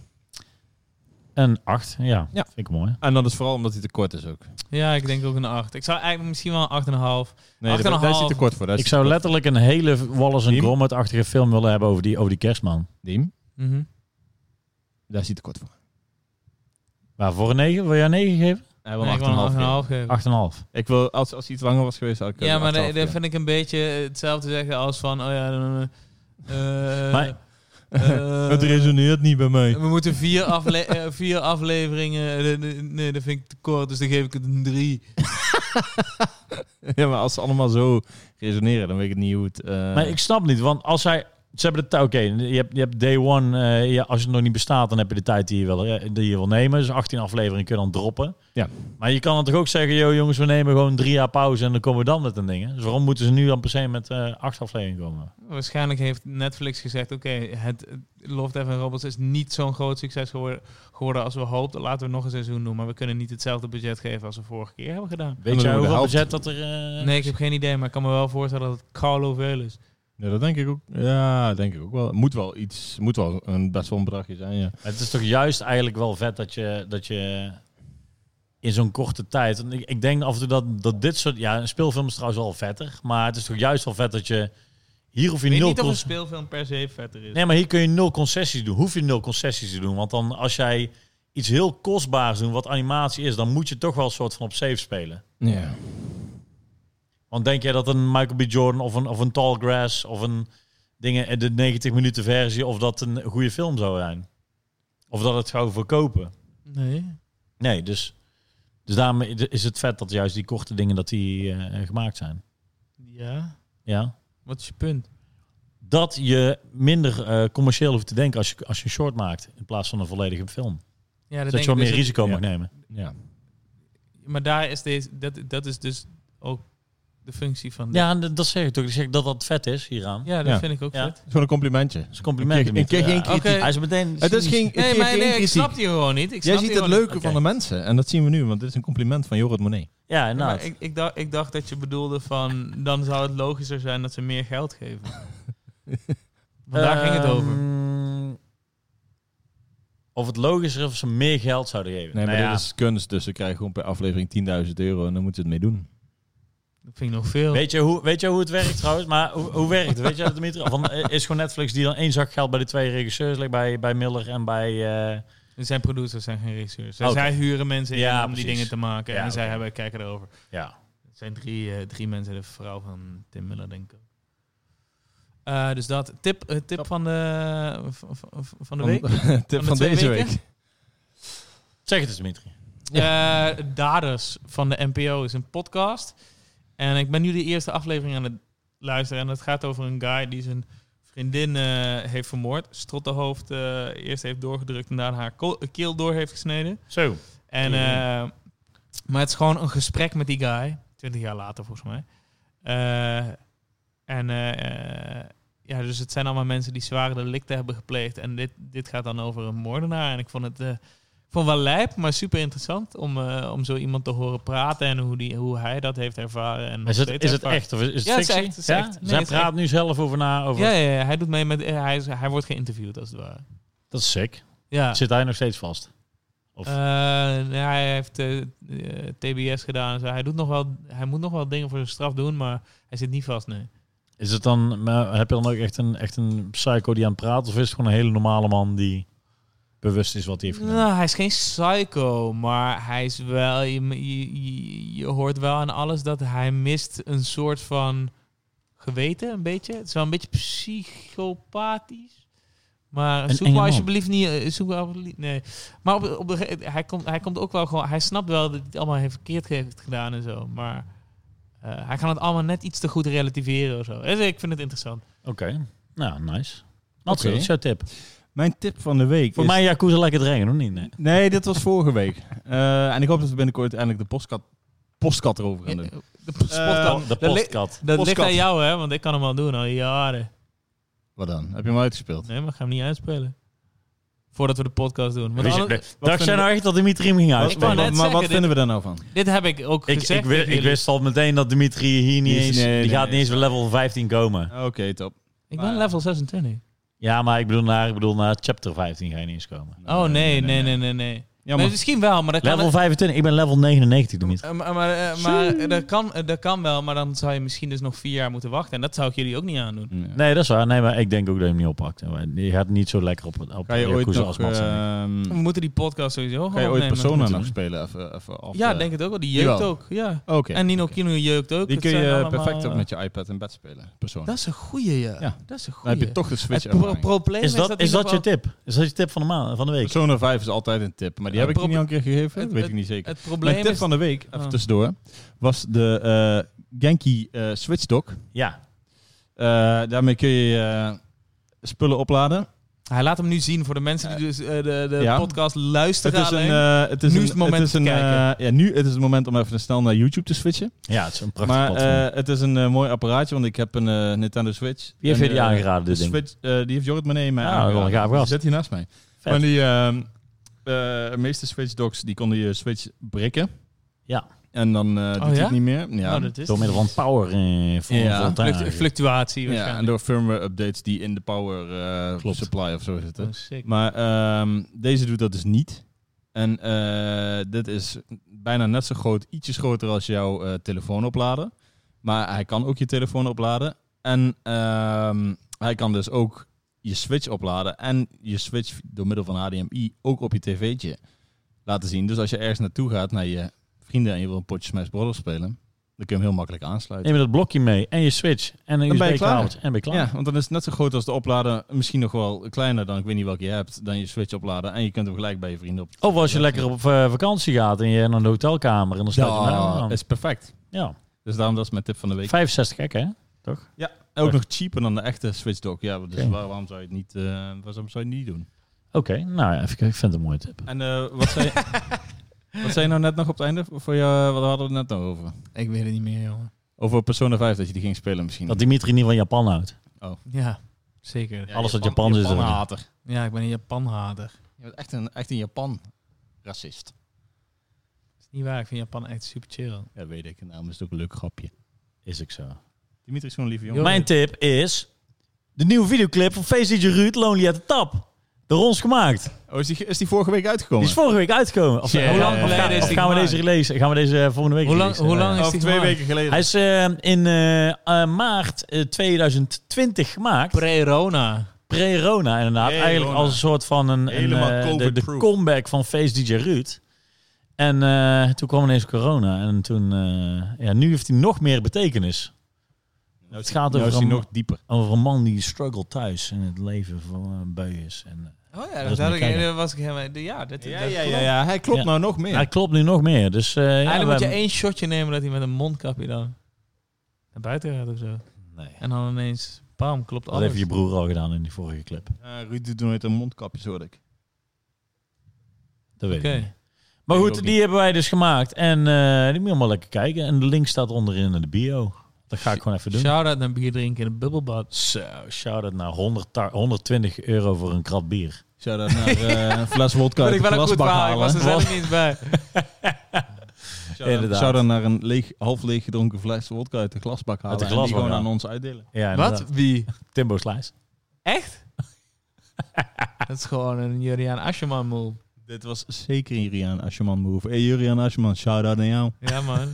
En acht, ja.
Ja.
Vind ik mooi.
En dat is vooral omdat hij te kort is ook.
Ja, ik denk ook een 8. Ik zou eigenlijk misschien wel een 8,5.
Nee,
Acht en
daar, daar
een
is hij
half.
te kort voor. Daar is
Ik zou letterlijk een hele Wallace en
Diem?
Gromit-achtige film willen hebben over die, over die kerstman.
Diem,
Mhm.
daar is hij te kort voor.
Maar voor een negen, wil jij een negen geven?
Hij
Nee, ik wil een 8,5 geven.
Acht en een half.
Ik wil, als, als hij iets langer was geweest, had ik eh,
Ja, maar dat, dat
dat
vind ik een beetje hetzelfde zeggen als van, oh ja, dan, eh, eh,
Maar-
eh,
Het resoneert niet bij mij.
We moeten vier, afle- eh, vier afleveringen. eh, nee, Nee, dat vind ik te kort, dus dan geef ik het een drie.
Ja, maar als ze allemaal zo resoneren, dan weet ik niet hoe het... eh,
Maar ik snap niet, want als hij... Ze hebben de tijd, oké, je, hebt, je hebt day one, eh, ja, als het nog niet bestaat, dan heb je de tijd die je wil, eh, die je wil nemen. Dus 18 afleveringen kun je dan droppen.
Ja.
Maar je kan dan toch ook zeggen, joh jongens, we nemen gewoon drie jaar pauze en dan komen we dan met een ding. hè? Dus waarom moeten ze nu dan per se met eh, acht afleveringen komen?
Waarschijnlijk heeft Netflix gezegd: Oké, het het Love, Death and Robots is niet zo'n groot succes geworden, geworden als we hoopten. Laten we nog een seizoen doen, maar we kunnen niet hetzelfde budget geven als we vorige keer hebben gedaan.
Weet
doen we
jij
de
hoeveel
helft.
budget dat er... eh,
Nee, ik heb geen idee, maar ik kan me wel voorstellen dat het Carlo veel is.
Ja, dat denk ik ook. Ja, denk ik ook wel. Moet wel iets, moet wel een best wel een bedragje zijn, ja.
Het is toch juist eigenlijk wel vet dat je, dat je in zo'n korte tijd. want Ik, ik denk af en toe dat, dat dit soort. Ja, een speelfilm is trouwens al vetter. Maar het is toch juist wel vet dat je. Hier hoef je
Ik weet
nul.
niet of een
cons-
speelfilm per se vetter is.
Nee, maar hier kun je nul concessies doen. Hoef je nul concessies te doen. Want dan als jij iets heel kostbaars doet, wat animatie is, dan moet je toch wel een soort van op safe spelen.
Ja.
Want denk jij dat een Michael B. Jordan of een, of een Tall Grass of een dingen, de 90 minuten versie, of dat een goede film zou zijn? Of dat het zou verkopen?
Nee.
Nee, dus, dus daarom is het vet dat juist die korte dingen dat die eh, gemaakt zijn.
Ja.
Ja.
Wat is je punt?
Dat je minder eh, commercieel hoeft te denken als je, als je een short maakt in plaats van een volledige film.
Ja,
Dat,
denk
je wat
ik
meer
dus
risico
ja.
mag nemen.
Ja.
het- Maar daar is deze, dat, dat is dus ook de functie van.
Ja, en dat- dat zeg ik toch. Ik zeg dat dat vet is hieraan.
ja dat
Ja.
vind ik ook
Ja.
vet.
Het is gewoon een complimentje.
Dat is een compliment.
Ik kreeg- ik kreeg geen
Dimitri. Ja.
kritiek.
Oké.
Hij is meteen...
Het is geen, het
Nee,
geeft
maar
geen
nee, ik
kritiek.
snap die gewoon niet. Ik
Jij
snap
ziet
die
het
gewoon
leuke
Oké.
van de mensen. En dat zien we nu, want dit is een compliment van Jorrit Monet.
Ja,
niet. Ja, maar
inderdaad.
ik, ik, dacht, ik dacht dat je bedoelde van. Dan zou het logischer zijn dat ze meer geld geven. Want daar ging het over.
Ehm, Of het logisch is of ze meer geld zouden geven.
Nee, maar
Nou ja.
dit is kunst, dus ze krijgen gewoon per aflevering 10.000 euro en dan moeten ze het mee doen.
Dat vind ik nog veel.
Weet je, hoe, weet je hoe het werkt trouwens? Maar hoe, hoe werkt het? Weet je dat, Dimitri? Van, eh, is gewoon Netflix die dan één zak geld bij de twee regisseurs legt, bij, bij Miller en bij... eh,
Er zijn producers, zijn geen regisseurs. Dus
Oké.
Zij huren mensen in
Ja,
om die
precies.
dingen te maken.
Ja,
en zij
oké.
hebben kijken erover.
ja.
Het zijn drie, eh, drie mensen, de vrouw van Tim Miller, denk ik. ook. Eh, dus dat. Tip, eh, tip van, de, v- v- v- van de week?
tip
de
van
twee
deze
weken?
week.
Zeg het eens, Dimitri.
Eh, Daders van de NPO is een podcast. En ik ben nu de eerste aflevering aan het luisteren. En het gaat over een guy die zijn vriendin eh, heeft vermoord. Strottenhoofd eh, eerst heeft doorgedrukt en daarna haar ko- keel door heeft gesneden.
Zo.
En,
Ja.
eh, maar het is gewoon een gesprek met die guy. Twintig jaar later, volgens mij. Eh, en eh, eh, ja, dus het zijn allemaal mensen die zware delicten hebben gepleegd. En dit, dit gaat dan over een moordenaar. En ik vond het eh, ik vond het wel lijp, maar super interessant om, eh, om zo iemand te horen praten. En hoe, die, hoe hij dat heeft ervaren. En nog
Is het,
steeds
is het
ervaart.
echt of is is het
Ja, het is
fictie?
echt, het is
Ja?
echt. Nee,
Zij
het is
praat
echt.
nu zelf over na. Over...
Ja, ja, ja, hij doet mee met. eh, Hij, is- hij wordt geïnterviewd, als het ware.
Dat is sick.
Ja.
Zit hij nog steeds vast? Of-
Eh, nou, hij heeft eh, eh, TBS gedaan. en zo. Hij, doet nog wel, hij moet nog wel dingen voor zijn straf doen, maar hij zit niet vast, nee.
Is het dan, maar heb je dan ook echt een, echt een psycho die aan het praten? Of is het gewoon een hele normale man die bewust is wat hij heeft gedaan?
Nou, hij is geen psycho, maar hij is wel... Je, je, je, je hoort wel aan alles dat hij mist een soort van geweten, een beetje. Het is wel een beetje psychopathisch. Maar
Een
zoek
enge
maar
man.
alsjeblieft niet... eh, Zoek maar alsjeblieft, nee. Maar op, op de, ge- hij, komt, hij komt ook wel gewoon... Hij snapt wel dat hij het allemaal heeft verkeerd heeft gedaan en zo. Maar eh, hij kan het allemaal net iets te goed relativeren of zo. Dus ik vind het interessant.
Oké. Nou, nice. Matze,
Oké.
dat is jouw tip. Mijn tip
Van de week.
Voor
is-
mij Yakuza lekker het regent, of niet? Nee.
Nee, dit was vorige week. Eh, en ik hoop dat we binnenkort eindelijk de postkat, postkat erover gaan doen.
Eh, De podcast.
de
dat li-
Eh, postkat.
dat ligt
postkat.
aan jou, hè? Want ik kan hem al doen al jaren.
Wat dan? Heb je hem uitgespeeld?
Nee, maar ik ga hem niet uitspelen. Voordat we de podcast doen. Want
Wie
alle-
zegt-
wat
Dacht jij
vinden
nou echt dat Dimitri hem ging
Wat-
Ik
uitspelen?
wou
maar
net
maar
zeggen,
wat
dit-
vinden we daar nou van?
dit heb ik ook
Ik,
gezegd.
ik, wist,
tegen
ik
jullie.
wist al meteen dat Dimitri hier niet
Nee,
eens...
nee,
die gaat
nee.
niet eens bij level 15 komen.
Oké, top.
Ik ben level 26.
Ja, maar ik bedoel naar, ik bedoel naar chapter 15 ga je niet eens komen.
Oh, nee, nee, nee, nee, nee. dus-
Jammer.
Maar misschien wel, maar dat kan...
Level 25, ik ben level 99, Dimitri.
Eh, maar maar, eh, maar eh, dat, kan, eh, dat kan wel, maar dan zou je misschien dus nog vier jaar moeten wachten. En dat zou ik jullie ook niet aandoen.
Nee.
Nee, dat is waar. Nee, maar ik denk ook dat je hem niet oppakt. Je gaat niet zo lekker op, op
Ga je ooit
Yakuza
nog,
als Mats.
ehm,
We moeten die podcast sowieso
ga
gewoon
je ooit
opnemen.
Persona
doen.
nog spelen? Even, even af,
Ja,
eh,
denk het ook wel. Die jeukt
Jawel.
ook. Ja.
Oké.
En Nino Kino jeukt ook.
Die
Het
kun
zijn
je
allemaal,
perfect ook
eh,
met je iPad in bed spelen, Persona.
Dat is een goeie, ja.
Ja.
Dat is een
dan heb
goeie.
je toch de Switch
het pro-
ervaring.
probleem
Is dat,
dat,
is
die
dat je
nog wel-
tip? Is dat je tip van de, maand, van de week?
Persona 5 is altijd een tip, maar die
Ja,
heb ik niet
proble-
al een keer gegeven.
het-
Dat weet ik niet zeker.
Het
Mijn
probleem
tip
is...
van de week, even
Ah.
tussendoor, was de eh, Genki eh, Switch Dock.
Ja.
Eh, daarmee kun je eh, spullen opladen.
Hij laat hem nu zien voor de mensen die dus eh, de, de
Ja.
podcast luisteren.
Het is een,
alleen.
eh, het is
Nu
een,
is het moment
is
om
een,
te kijken.
eh, ja, nu het is het moment om even snel naar YouTube te switchen.
ja, het is een prachtig
maar
platform.
eh, het is een eh, mooi apparaatje, want ik heb een eh, Nintendo Switch.
Wie heeft
En,
je die
eh,
aangeraden, dit
de
ding?
Switch, eh, die heeft Jorrit Meneer mij
Ah,
aangeraden.
wel een gaaf
Die
gast.
zit hier naast mij.
Vet.
Maar die ehm, eh, de meeste Switch docs die konden je Switch bricken.
Ja.
En dan eh, doet
Oh, ja?
hij het niet meer. Ja,
Nou, dat is
Door middel van power eh voor
Ja.
ja.
Fluct- fluctuatie
ja en
waarschijnlijk.
door firmware updates die in de power eh,
Klopt.
supply of zo zitten.
Oh, sick.
Maar ehm, deze doet dat dus niet. En eh, dit is bijna net zo groot, ietsjes groter als jouw eh, telefoon opladen. Maar hij kan ook je telefoon opladen. En ehm, hij kan dus ook je Switch opladen. En je Switch door middel van HDMI ook op je tv'tje laten zien. Dus als je ergens naartoe gaat naar je vrienden en je wil een potje Smash Bros. spelen... dan kun je hem heel makkelijk aansluiten.
Neem je dat blokje mee en je switch en een
Dan ben je
USB
klaar.
cloud en ben je klaar.
Ja, want dan is het net zo groot als de oplader. Misschien nog wel kleiner dan, ik weet niet welke je hebt, dan je Switch opladen. En je kunt hem gelijk bij je vrienden op.
Of als je lekker op eh, vakantie gaat en je naar een hotelkamer en dan sluit je hem aan.
is perfect.
Ja,
Dus daarom dat is mijn tip van de week.
65 gek hè?
En ook nog cheaper dan de echte Switch dock. Ja, dus
Oké.
waar- waarom zou je het niet, eh, waarom zou je het niet doen?
Oké, nou ja, ik vind het een mooie tip.
En eh, wat, zei, wat zei je nou net nog op het einde? Voor jou, wat hadden we het net nog over?
Ik weet het niet meer, jongen.
Over Persona 5, dat je die ging spelen misschien.
Dat Dimitri niet van Japan houdt.
Ja, zeker. Ja,
alles wat Japans is eh.
Japan
erin.
hater.
ik ben een Japanhader.
Je bent echt een, echt een Japan racist.
Dat is niet waar, ik vind Japan echt super chill.
Ja, weet ik. Nou, maar het is ook een leuk grapje.
Is ik zo.
Dimitri is gewoon een lieve jongen.
Mijn tip is de nieuwe videoclip van Face DJ Ruud, Lonely at the Top. Door ons gemaakt.
Oh, is die, is die vorige week
Die
uitgekomen?
is vorige week uitgekomen. Of,
Shit.
hoe
Hoe
lang, of
lang
gaan-
geleden is
of
die
gaan we
gemaakt?
deze releasen? Gaan we deze eh, volgende week
Hoe lang-
releasen?
hoe
Ja,
lang
ja.
is
Over
die
twee
gemaakt?
weken geleden.
Hij is eh, in eh, eh, maart eh, 2020 gemaakt.
Pre-Rona.
Pre-Rona inderdaad.
Pre-Rona.
Eigenlijk als een soort van een, een
Helemaal
eh, de, de
COVID-proof.
comeback van Face DJ Ruud. En eh, toen kwam ineens corona. En toen, eh, ja, nu heeft hij nog meer betekenis.
Nou is-
Het gaat
nou
over
is die
een-
nog dieper.
Over een man die struggle thuis in het leven van een bui is. En, eh,
Oh ja,
Dat
dat had
is mijn
ik,
kijker.
dat was ik helemaal... Ja, dat,
Ja,
dat
ja,
klopt.
ja, ja, hij klopt
Ja.
nou nog meer.
Hij klopt nu nog meer. Dus eh, ja, we
Eigenlijk moet je
hebben-
één shotje nemen dat hij met een mondkapje dan naar buiten gaat of zo.
Nee.
En dan ineens, bam, klopt
Dat
alles.
heeft je broer al gedaan in die vorige clip.
Ja, Ruud doet nooit een mondkapje, hoor ik.
Dat weet
Oké.
ik niet. Maar
Ik
goed,
ook
die hebben wij dus gemaakt. En eh, die moet je allemaal lekker kijken. En de link staat onderin in de bio. Dat ga ik gewoon even doen.
Shout-out naar bier drinken in een bubbelbad.
Zo, shout-out naar 100 ta- 120 euro voor een krat bier.
Zou dat naar eh, een fles wodka
Vind
uit
ik
de
wel een goed
glasbak
verhaal, ik was
halen?
er zelf niet bij.
Zou dan,
Inderdaad.
zou dan naar een leeg, half leeg gedronken fles wodka uit de glasbak halen
de
en die
glasbak,
gewoon
ja.
aan ons uitdelen?
Ja, eh,
Wat? Wie?
Timbo Slice.
Echt? dat is gewoon een Juriaan Ascherman move.
Dit was zeker een Juriaan Asjeman move. Hey Juriaan Asjeman, shout-out aan jou.
Ja, man.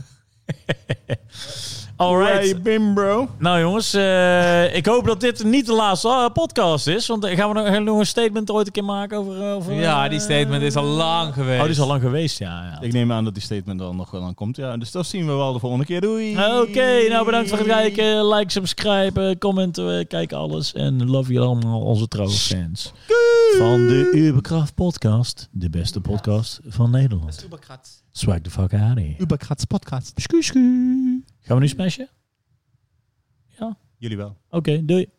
Alright.
Hey Bim, bro.
Nou jongens, eh, ik hoop dat dit niet de laatste eh, podcast is. Want eh, gaan we nog, gaan we nog een statement ooit een keer maken over... eh, over
ja,
eh,
die statement is al lang geweest.
Oh, die is al lang geweest, ja. ja.
Ik neem aan dat die statement dan nog wel aan komt. Ja, dus dat zien we wel de volgende keer. Doei.
Oké, nou bedankt voor het kijken. Like, subscribe, eh, commenten, eh, kijk alles. En love jullie allemaal, onze trouwe fans. Van de Uberkraft podcast. De beste podcast van Nederland. Swag the fuck out of here.
Uberkrats podcast.
Gaan we nu smashen?
Jullie wel.
Oké, doei.